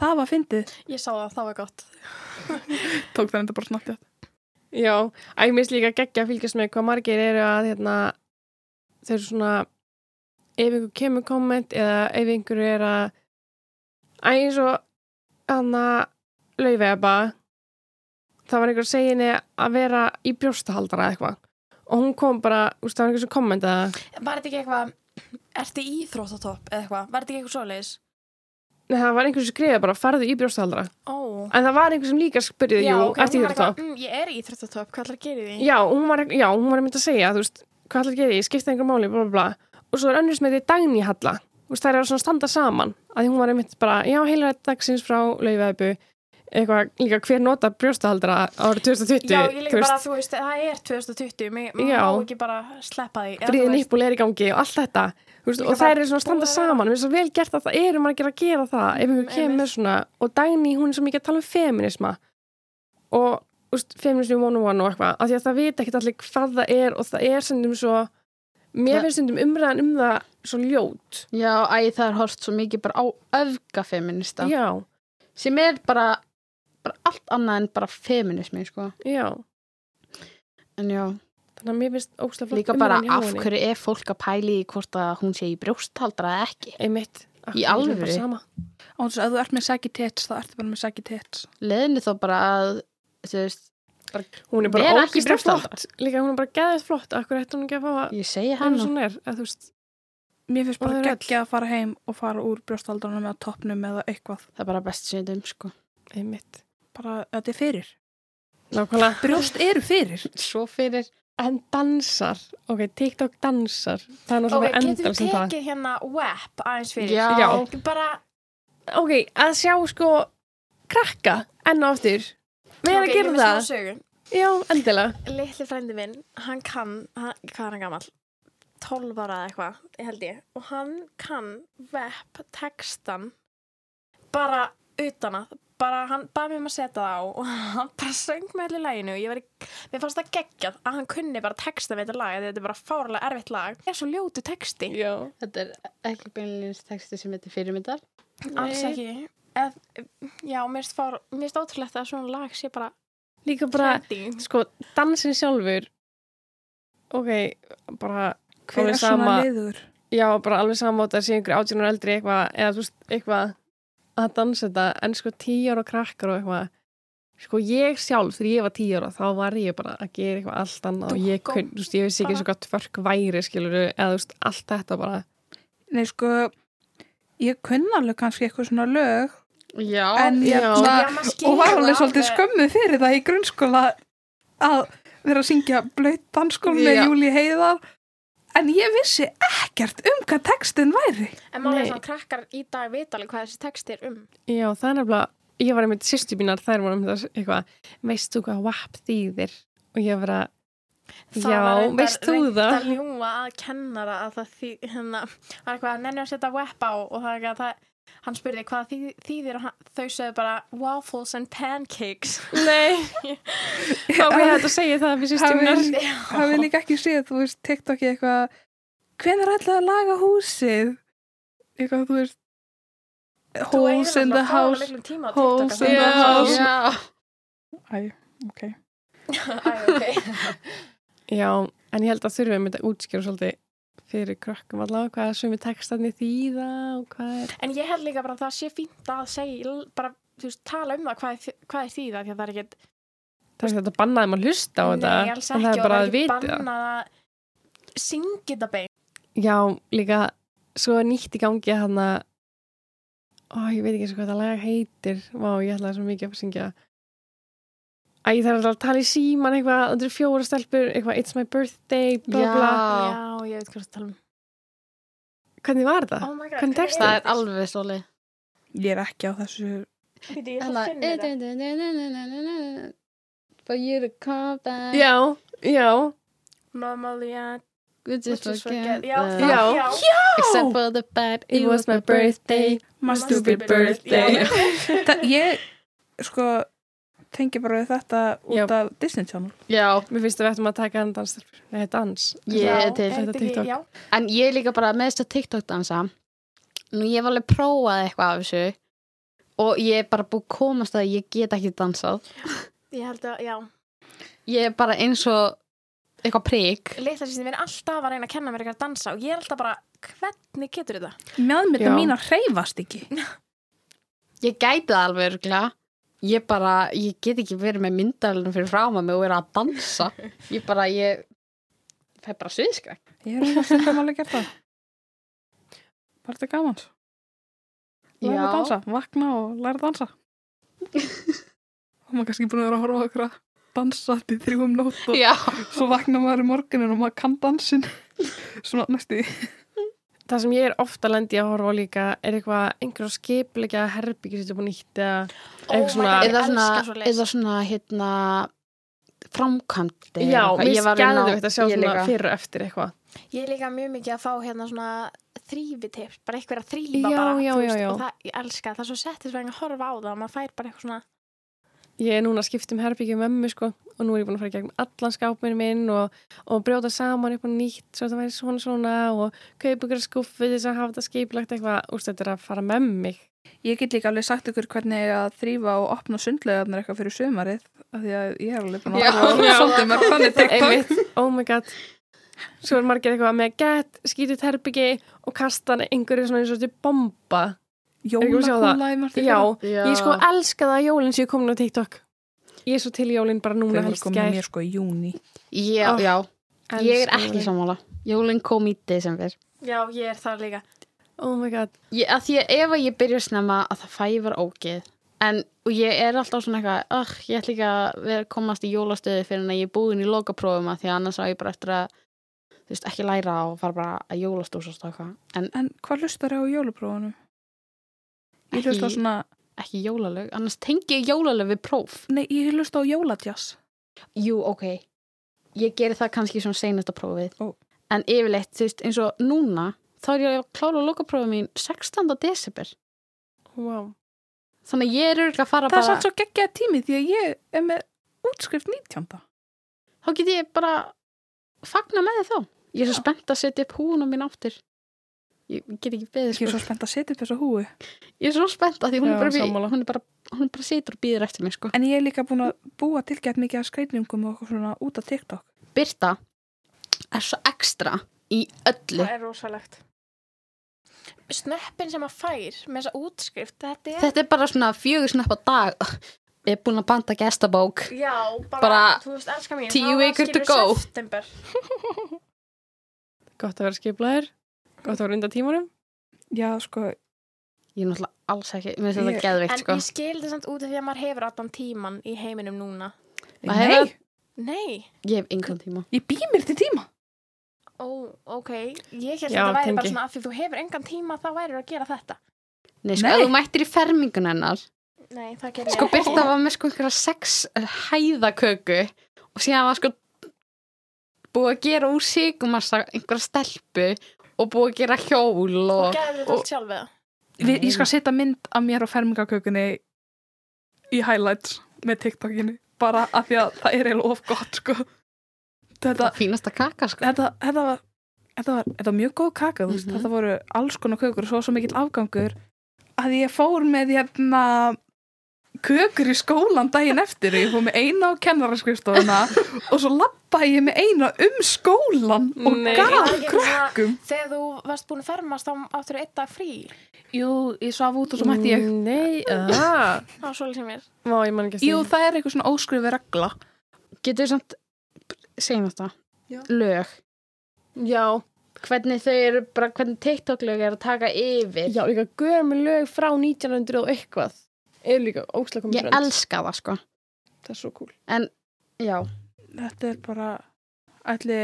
Speaker 4: Það var fyndið.
Speaker 1: Ég sá það, það var gott.
Speaker 4: Tók það enda bara snabbt hjátt.
Speaker 5: Já, að ég misst líka geggja að fylgjast með hvað margir eru að hérna, þeir eru svona ef einhver kemur komment eða ef einhver er að Æ, eins og hann að laufeba það var einhver að segja henni að vera í brjóstahaldara eða eitthvað og hún kom bara, úst, það var einhver sem kommentaði
Speaker 1: Var þetta ekki eitthvað, ertu í Íþróttatopp eða eitthvað? Var þetta ekki eitthvað svoleiðis?
Speaker 5: Nei, það var einhver sem skrifaði bara, farðu í brjóstahaldara
Speaker 1: Ó.
Speaker 5: en það var einhver sem líka spurði, jú, hérna
Speaker 1: ok,
Speaker 5: eftir
Speaker 1: hún
Speaker 5: því
Speaker 1: var
Speaker 5: þetta
Speaker 1: eitthvað, Mm, ég er í Íþróttatopp, hvað ætlar að gera í því?
Speaker 5: Já, hún var, já, hún var mynd að segja, þú veist, hvað ætlar að gera, ég skipta einhver máli, bla, bla, bla. Og svo er önnur sem heitir Dagný Halla, þú veist, það er að svona standa saman, að því hún var einmitt bara, já, heila dagsins frá laufæðbu, eitthvað, líka hver nota brjóstahaldara árið 2020,
Speaker 1: Já, ég líka bara, þú veist, það er 2020, mig
Speaker 5: Já.
Speaker 1: má ekki bara sleppa því. eða þú
Speaker 5: friðin
Speaker 1: veist-
Speaker 5: íbúl er í gangi og allt þetta, þú veist,
Speaker 1: Líka
Speaker 5: og það
Speaker 1: bara
Speaker 5: er svona að standa
Speaker 1: búið að vera-
Speaker 5: saman, við erum svo vel gert að það eru margir að gera það, ef
Speaker 1: Mm,
Speaker 5: einhver kemur
Speaker 1: einmitt.
Speaker 5: svona, og Dagný, hún er svo mikið að tala um feminisma, og, þú veist, feminismi one on one og eitthvað, af því að það vita ekkit allir hvað það er, og það er sendum svo, mér
Speaker 2: Það-
Speaker 5: finnst sendum umræðan um það svo ljót,
Speaker 2: Já, æ, það er horft svo mikið bara á öfgafeminista.
Speaker 5: já,
Speaker 2: Sem er bara, bara allt annað en bara feminismi, sko.
Speaker 5: já,
Speaker 2: En já,
Speaker 5: þannig að mér finnst óslega flott
Speaker 2: líka bara
Speaker 5: umræðan hjá
Speaker 2: af
Speaker 5: henni.
Speaker 2: hverju er fólk að pæli í hvort að hún sé í brjósthaldra eða ekki.
Speaker 5: Einmitt. Af hverju er
Speaker 2: Í
Speaker 5: það
Speaker 2: alvöru?
Speaker 5: bara sama?
Speaker 4: Og þess að ef þú ert með saggy tits, þá ertu bara með saggy tits.
Speaker 2: Leðinu þá bara að, þú veist,
Speaker 5: Hún er bara
Speaker 2: Vera ekki
Speaker 5: ógislega
Speaker 2: brjóstahaldara.
Speaker 5: flott, líka hún er bara geðið flott, af hverju ætti hún ekki að fá að
Speaker 2: ég segi
Speaker 5: hann
Speaker 2: hann.
Speaker 5: svona er, að þú veist,
Speaker 4: Mér finnst
Speaker 5: Og
Speaker 4: bara
Speaker 5: þau eru öll.
Speaker 4: geggja að fara heim og fara úr brjóstaldunum eða toppnum eða eitthvað.
Speaker 2: Það er bara best sem þetta um, sko.
Speaker 5: einmitt.
Speaker 4: Bara, þetta er fyrir.
Speaker 5: Nákvæmlega.
Speaker 4: Brjóst eru fyrir.
Speaker 2: Svo fyrir
Speaker 5: En dansar, ok, TikTok dansar Það er
Speaker 1: Ok,
Speaker 5: náttúrulega
Speaker 1: getum
Speaker 5: okay, endal
Speaker 1: við
Speaker 5: sem það
Speaker 1: tekið hérna WAP aðeins fyrir?
Speaker 2: Já.
Speaker 5: Já.
Speaker 1: Bara,
Speaker 5: Ok, að sjá sko krakka enn og aftur Við
Speaker 1: ok,
Speaker 5: erum að
Speaker 1: ég
Speaker 5: gera
Speaker 1: með smá
Speaker 5: það
Speaker 1: sögu.
Speaker 5: Já, endilega
Speaker 1: Litli frændi minn, hann kann, hann, hvað er hann gammal? 12 ára eða eitthvað, held ég. Og hann kann WAP textan bara utan að, bara hann bað mér um að setja það á og hann bara söng með allir læginu og ég var í, mér fannst það geggjað að hann kunni bara texta með þetta lag því þetta er bara fárlega erfitt lag. Það er svo ljótu texti.
Speaker 5: Já,
Speaker 2: Þetta er ekki beinleins texti sem þetta er fyrirmyndar.
Speaker 1: Alls
Speaker 5: Nei.
Speaker 1: ekki. Eð, já, mér finnst fár- mér finnst ótrúlegt að svona lag sé bara
Speaker 5: líka bara,
Speaker 1: trending.
Speaker 5: sko, dansin sjálfur Ok, bara
Speaker 4: Hver
Speaker 5: alveg
Speaker 4: er svona
Speaker 5: sama-
Speaker 4: liður?
Speaker 5: Já, bara alveg samátt að sé einhver átjónur eldri eitthvað, eða þú veist, eitthvað að dansa þetta, en sko tíjar og krakkar og eitthvað Sko, ég sjálf, þegar ég var tíjar og þá var ég bara að gera eitthvað allt annað og ég,
Speaker 1: Dúkkó.
Speaker 5: kun, þú veist, ég vissi ekki
Speaker 1: Bara.
Speaker 5: eins og hvað tvörk væri, skilur eða þú veist, allt þetta bara
Speaker 4: Nei, sko, ég kunna alveg kannski eitthvað svona lög
Speaker 2: Já.
Speaker 4: en
Speaker 5: já.
Speaker 4: ég
Speaker 1: Já,
Speaker 4: na,
Speaker 1: maður skilur
Speaker 4: og var alveg
Speaker 1: það
Speaker 4: svolítið
Speaker 1: alveg.
Speaker 4: skömmuð fyrir það í grunnskóla að vera að syngja blöyt danskól með
Speaker 2: Já.
Speaker 4: Júli Heiðar en ég vissi ekkert um hvað textin væri.
Speaker 1: En málega
Speaker 5: Nei.
Speaker 1: svona krakkar í dag vita alveg hvað þessi texti er um.
Speaker 5: Já, það er nefnilega, ég var einmitt sýstu mínar, þær voru um þess eitthvað, veist þú hvað WAP þýðir? Og ég var að,
Speaker 1: Það
Speaker 5: já,
Speaker 1: var reyndar
Speaker 5: veist þú
Speaker 1: reynt
Speaker 5: það?
Speaker 1: að ljúa að kennara að það því, hérna, var eitthvað að nenni að setja web á og það er ekki að það, hann spurði hvað þý, þýðir og hann, þau sögðu bara waffles and pancakes.
Speaker 5: Nei, þá var ég hægt að segja það fyrir sýstu mínar.
Speaker 4: Hafið hafi líka ekki séð, þú veist, TikTok í eitthvað hvenær ætlaði að laga húsið? Eitthvað, þú veist Hús in the house holes in the house.
Speaker 2: Já.
Speaker 4: Æ, ok
Speaker 1: house.
Speaker 5: Já, en ég held að þurfum einmitt að útskjára svolítið fyrir krökkum allavega hvað sumi textarnir þýða og hvað er
Speaker 1: En ég held líka bara að það sé fínt að segja, bara, þú veist, tala um það hvað, er- hvað er þýða því að það er ekkert
Speaker 5: það er ekki þetta bannaði maður að hlusta á þetta
Speaker 1: Nei, alls
Speaker 5: en það
Speaker 1: ekki
Speaker 5: er
Speaker 1: og
Speaker 5: bara
Speaker 1: það
Speaker 5: að
Speaker 1: er
Speaker 5: vita
Speaker 1: ekki bannað að syngi þetta bein
Speaker 5: Já, líka svo er nýtt í gangi hann að Ó, ég veit ekki eins og hvað það lag heitir Vá, ég ætlaði svo mikið að fara að syngja Æ, það er alltaf að tala í síman eitthvað, það eru fjóra stelpur eitthvað, it's my birthday, bla
Speaker 2: Já.
Speaker 5: bla
Speaker 1: Já, ég veit hvað það tala um
Speaker 5: Hvernig var það?
Speaker 1: Oh my god,
Speaker 5: Hvernig tekst
Speaker 2: Það er alveg svolítið.
Speaker 4: Ég er ekki á þessu
Speaker 1: Býtu, ég ætla að finna þetta
Speaker 2: Hana, But you're a cop back.
Speaker 5: Já, já,
Speaker 1: Normally, yeah
Speaker 2: Good just
Speaker 1: just
Speaker 2: forget.
Speaker 1: forget- Já,
Speaker 2: that.
Speaker 5: Já.
Speaker 1: það- já
Speaker 2: Except for the bad.
Speaker 5: it was my birthday
Speaker 4: My
Speaker 1: stupid birthday.
Speaker 4: Já. Það- Ég, sko, tengi bara við þetta út
Speaker 5: Já.
Speaker 4: af Disney Channel.
Speaker 2: Já,
Speaker 5: Mér finnst að við ættum að taka hann dans Nei, dans
Speaker 2: ég er til.
Speaker 5: þetta
Speaker 1: þetta
Speaker 5: TikTok.
Speaker 1: ekki- já.
Speaker 2: En ég er líka bara með þess að TikTok dansa Nú ég var alveg prófað eitthvað af þessu Og ég er bara búið að komast að ég get ekki dansað
Speaker 1: Ég held að, já
Speaker 2: Ég er bara eins og eitthvað prík
Speaker 1: Litla sýstin minn er alltaf að reyna að kenna mér eitthvað að dansa og ég er alltaf bara, hvernig getur þetta?
Speaker 4: Mjöðmynda
Speaker 5: Já.
Speaker 4: mín að hreyfast ekki.
Speaker 2: Ég gæti það alveg örgulega Ég bara, ég get ekki verið með myndalinn fyrir fráma mig og verið að dansa Ég bara, ég Það er bara sviðskræk
Speaker 4: Ég er að finna alveg gert það. Bara þetta gaman. Læra að dansa, vakna og læra að dansa. og maður kannski búin að vera að horfa okkur að dansa til þrjúum um nótt og
Speaker 2: Já,
Speaker 4: svo vakna maður í morgunin og maður kann dansin. Svona næstu. því.
Speaker 5: Það sem ég er ofta lendi að horfa á líka er eitthvað einhverjum skipleika herbyggjur sem er búin nýtt eða
Speaker 1: Oh
Speaker 5: eitthvað
Speaker 1: my
Speaker 5: svona
Speaker 1: God.
Speaker 2: eða
Speaker 1: elska
Speaker 2: svona,
Speaker 1: svoleiðis.
Speaker 2: eða svona, hérna framkvæmdi
Speaker 5: Já, mér skæðum við að sjá svona fyrir og eftir eitthvað
Speaker 1: Ég er líka mjög mikið að fá hérna svona þrývitips, bara eitthvað að þrýfa
Speaker 5: Já,
Speaker 1: bara,
Speaker 5: já,
Speaker 1: þú
Speaker 5: já, já.
Speaker 1: og það, ég elska, það er svo settisvæðing að horfa á það og maður fær bara eitthvað svona,
Speaker 5: Ég er núna að skipta um herbyggjum mömmu sko og nú er ég búin að fara í gegnum allan skápinu minn og, og brjóta saman eitthvað nýtt svo það væri svona svona og kaupa ykkur skuffu til þess að hafa þetta skiplagt eitthvað úst þetta er að fara með mig
Speaker 4: Ég get líka alveg sagt ykkur hvernig ég að þrýfa og opna sundlegarnar eitthvað fyrir sömarið. Af því að ég er alveg búin
Speaker 2: Já,
Speaker 4: að horfa
Speaker 5: já.
Speaker 4: á svolítið mörg þannig TikTok.
Speaker 5: Einmitt, oh my god Svo er margir eitthvað með gett, skýtut herbyggi og kastan einhverju svona eins og þetta er bomba Eigum við að sjá það?
Speaker 4: Jólakúla í margt
Speaker 5: Já,
Speaker 2: Já.
Speaker 5: Ég sko elska það að jólinn séu komin á TikTok. Ég er svo til jólinn bara núna
Speaker 4: Þau voru
Speaker 5: helst
Speaker 4: komið
Speaker 5: gær.
Speaker 4: mér sko í júni.
Speaker 2: Já,
Speaker 5: Oh,
Speaker 2: já,
Speaker 5: Elska
Speaker 2: sko. ég er ekki
Speaker 5: jólin.
Speaker 2: sammála. Jólinn kom í desember.
Speaker 1: já, ég er það líka.
Speaker 5: Oh my god.
Speaker 2: Ég, að því að ef að ég byrja snemma að það fæfar ógið. En og ég er alltaf svona eitthvað, oh, ég ætla ekki að vera, komast í jólastöðu fyrir en að ég er búin í lokaprófum að því að annars á ég bara eftir að, þú veist, ekki læra og fara bara að jólastúsast og eitthvað. En
Speaker 4: En hvað hlustar á jóluprófunum? Ég
Speaker 2: Ekki-
Speaker 4: hlusta á svona,
Speaker 2: ekki jólalög, annars tengi ég jólalög við próf.
Speaker 4: nei, ég hlusta á jóladjass.
Speaker 2: Jú, ok. Ég geri það kannski svona seinasta prófið.
Speaker 4: Ó.
Speaker 2: En yfirleitt, þú veist, eins og núna, þá er ég að klára lokaprófið mín 16. desember.
Speaker 5: Wow.
Speaker 2: Þannig að ég er örgulega að fara
Speaker 4: Það er
Speaker 2: bara...
Speaker 4: samt svo geggjað tími því að ég er með útskrift 19.
Speaker 2: þá get ég bara fagna með þið þá. Ég er svo spennt að setja upp húna mín áttir. Ég get ekki beðið
Speaker 4: Ég er
Speaker 2: sko.
Speaker 4: svo spennt að setja upp þessa húi.
Speaker 2: Ég er svo spennt að því hún,
Speaker 5: Já,
Speaker 2: er bara, við,
Speaker 5: sammála.
Speaker 2: hún, er bara, hún er bara situr og býður eftir mér sko.
Speaker 4: En ég er líka búin að búa tilgætt mikið af skreitningum og eitthvað svona út af TikTok.
Speaker 2: Birta er svo ekstra í öllu.
Speaker 1: Það er rosalegt. Snöppin sem maður fær með þessa útskrift, þetta er,
Speaker 2: Þetta er bara svona fjögur snöpp á dag. Ég er búin að banta gestabók.
Speaker 1: já, bara,
Speaker 2: Bara
Speaker 1: þú veist, elska mín,
Speaker 2: tíu
Speaker 1: þá var
Speaker 2: vikur to
Speaker 1: skilur
Speaker 2: go.
Speaker 1: september.
Speaker 5: Gott að vera skiplaðir. Gott að vera undan tímanum.
Speaker 4: Já, sko,
Speaker 2: Ég er náttúrulega alls ekki, mér finnst þetta
Speaker 4: Ég-
Speaker 1: En
Speaker 2: geðveikt sko.
Speaker 1: ég skil þetta samt út af því að maður hefur allan tíman í heiminum núna.
Speaker 2: Maður
Speaker 4: nei,
Speaker 2: hefur-
Speaker 1: Nei,
Speaker 2: Ég hef engan tíma.
Speaker 4: ég bý mér til tíma.
Speaker 1: ó, ok, ég held að
Speaker 5: Já,
Speaker 1: þetta væri bara
Speaker 5: tengi.
Speaker 1: svona af því þú hefur engan tíma þá væri að gera þetta.
Speaker 2: Nei, sko,
Speaker 4: Nei.
Speaker 2: ef þú mættir í fermingun hennar.
Speaker 1: Nei, það gerir
Speaker 2: Sko, Birta var með sko einhverja sex hæðaköku og síðan var sko búið að gera úr sigumassa einhverja stelpu og búið að gera hjól
Speaker 1: Og
Speaker 2: og...
Speaker 1: gerði þetta allt sjálf við það.
Speaker 4: Við, ég skal setja mynd af mér og fermingakökunni í highlights með TikTokinu. Bara af því að það er eiginlega of gott, sko. Þetta,
Speaker 2: Fínasta kaka, sko.
Speaker 4: þetta, þetta var þetta var, þetta var mjög góð kaka þú veist,
Speaker 2: Mhm.
Speaker 4: þetta voru alls konar kökur og svo svo mikill afgangur að ég fór með hérna kökur í skólan daginn eftir ég fór með eina á kennaraskrifstofuna og svo lappaði ég með eina um skólan og
Speaker 5: Nei.
Speaker 4: gaf
Speaker 1: Var ekki eitthvað svona-
Speaker 4: krökkum
Speaker 1: Þegar þú varst búin að fermast þá áttur einn dag frí
Speaker 4: Jú, ég Ah. svaf út og
Speaker 5: Nei, aða.
Speaker 1: á svolítið sem er.
Speaker 5: Má, ég man ekki að
Speaker 4: Mm. Jú, það er eitthvað svona óskrifi regla
Speaker 2: Getur samt, segjum þetta,
Speaker 4: Já.
Speaker 2: lög.
Speaker 5: já,
Speaker 2: hvernig þau eru, bara hvernig TikTok-lög er að taka yfir
Speaker 5: já, líka gömur lög frá 1900 og eitthvað er líka ókslega komið
Speaker 2: ég elska það sko
Speaker 5: það er svo cool
Speaker 2: já,
Speaker 4: Þetta er bara ætli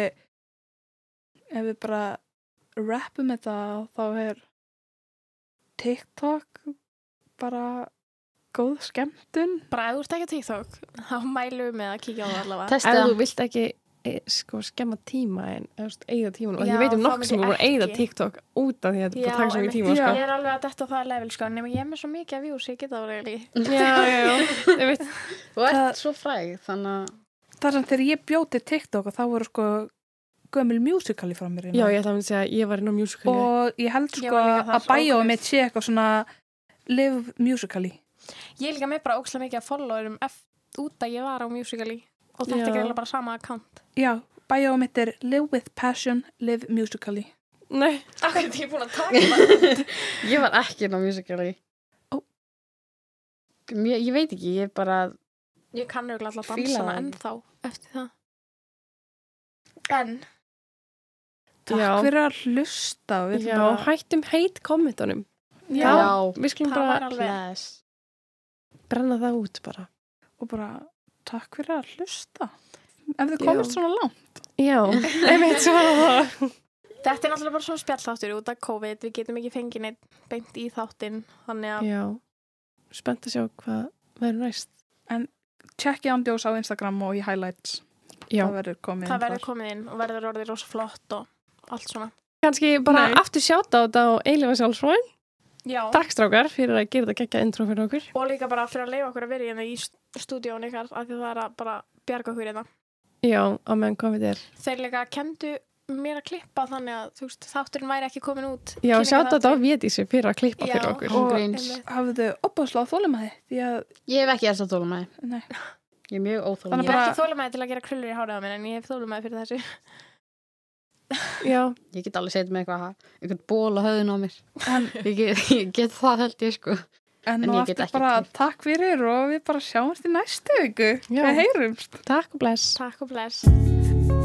Speaker 4: ef við bara rappum þetta þá er TikTok bara góð skemmtun
Speaker 1: Bara ef þú ert ekki á TikTok, þá mælum við með að kíkja á það allavega.
Speaker 2: testa
Speaker 5: ef þú
Speaker 2: það
Speaker 5: vilt ekki eh, sko, skemma tíma en eða, þú veist, eigða tímanum og
Speaker 1: Já,
Speaker 5: ég veit um
Speaker 1: þá
Speaker 5: nokk sem
Speaker 1: myndi
Speaker 5: voru að eigða
Speaker 1: ekki.
Speaker 5: TikTok út af því að þetta er
Speaker 1: Já,
Speaker 5: bara að taka svo mikið
Speaker 1: einmitt.
Speaker 5: tíma sko.
Speaker 1: Ég er alveg að detta á það level sko, nema ég er með svo mikið af views, ég geta það alveg líka.
Speaker 5: já, já, já, ég veit
Speaker 2: þú ert svo fræg þannig að
Speaker 4: Þar sem þegar ég bjóti TikTok og þá voru sko gömul musicali frá mér
Speaker 5: já, ég ætla að mynda að segja að ég var inn á musical
Speaker 4: og ég held
Speaker 1: Ég
Speaker 4: sko
Speaker 1: var líka þar,
Speaker 4: að bæja
Speaker 1: ókei.
Speaker 4: og mitt sé eitthvað svona live musicali
Speaker 1: Ég er líka með bara ókslega mikið að followerum eft- út að ég var á Musical.ly og þetta
Speaker 5: Já.
Speaker 1: er greinlega bara sama account.
Speaker 4: Já, bæja og mitt er live with passion, live musicali
Speaker 5: nei,
Speaker 1: Akkur er ég búin að taka það?
Speaker 2: Ég var ekki inn á musicali.
Speaker 4: Ó.
Speaker 2: Mér, ég veit ekki, ég bara,
Speaker 1: Ég kannu ekki alltaf
Speaker 2: Fíla
Speaker 1: dansana
Speaker 2: það.
Speaker 1: ennþá eftir það. En,
Speaker 4: Takk
Speaker 5: Já.
Speaker 4: fyrir að hlusta og við
Speaker 5: já,
Speaker 4: ætlum bara
Speaker 5: hættum heit kommentunum
Speaker 1: já,
Speaker 2: já,
Speaker 5: við skulum
Speaker 1: það var
Speaker 5: bara
Speaker 1: alveg.
Speaker 2: bless.
Speaker 5: brenna það út bara
Speaker 4: og bara takk fyrir að hlusta ef þið
Speaker 5: Já.
Speaker 4: komist svona langt
Speaker 5: já, ég veit svo var það
Speaker 1: Þetta er náttúrulega bara svona spjallþáttur út af COVID, við getum ekki fengið neitt beint í þáttinn, þannig að
Speaker 5: já, spennt að sjá hvað verður næst
Speaker 4: tjekkið ándjós á Instagram og í highlights
Speaker 5: já,
Speaker 4: það verður komið
Speaker 1: það
Speaker 4: inn
Speaker 1: verður komið inn og verður orðið rosa flott og allt svona.
Speaker 5: kannski bara
Speaker 4: Nei.
Speaker 5: aftur sjáta á þetta og eilifa sjálfsfróin
Speaker 1: Já.
Speaker 5: takk strákar fyrir að gera þetta geggja intro fyrir okkur
Speaker 1: og líka bara fyrir að leifa okkur að vera hérna í stúdíón ykkar af því það er að bara bjarga okkur hérna
Speaker 5: já, á meðan COVID er
Speaker 1: þeir líka kendu mér að klippa þannig að þú veist, þátturinn væri ekki komin út
Speaker 5: já,
Speaker 1: Kynningar
Speaker 5: sjáta þetta á
Speaker 1: þátturinn.
Speaker 5: Védísi fyrir að klippa
Speaker 1: Já.
Speaker 5: fyrir okkur
Speaker 4: Og-
Speaker 2: Gríns.
Speaker 1: Einmitt.
Speaker 4: hafðu opasláð þólum að þið því að,
Speaker 2: Ég hef ekki þess að þóla með.
Speaker 4: nei,
Speaker 2: Ég er mjög óþóla
Speaker 1: ég
Speaker 4: Þannig
Speaker 1: er
Speaker 2: með.
Speaker 4: bara-
Speaker 1: ekki þólumæði til að gera krullur í hárið á mér en ég hef þólumæði fyrir þessu
Speaker 5: já,
Speaker 2: Ég get alveg setið með eitthvað, eitthvað ból á höðun á mér.
Speaker 4: en,
Speaker 2: Ég get, ég get það held ég sko.
Speaker 4: en
Speaker 2: En
Speaker 4: nú
Speaker 2: ég get
Speaker 4: aftur
Speaker 2: ekki
Speaker 4: bara
Speaker 2: klippt.
Speaker 4: takk fyrir og við bara sjáumst í næstu viku
Speaker 5: Já.
Speaker 4: við heyrumst
Speaker 5: takk og bless
Speaker 1: takk og bless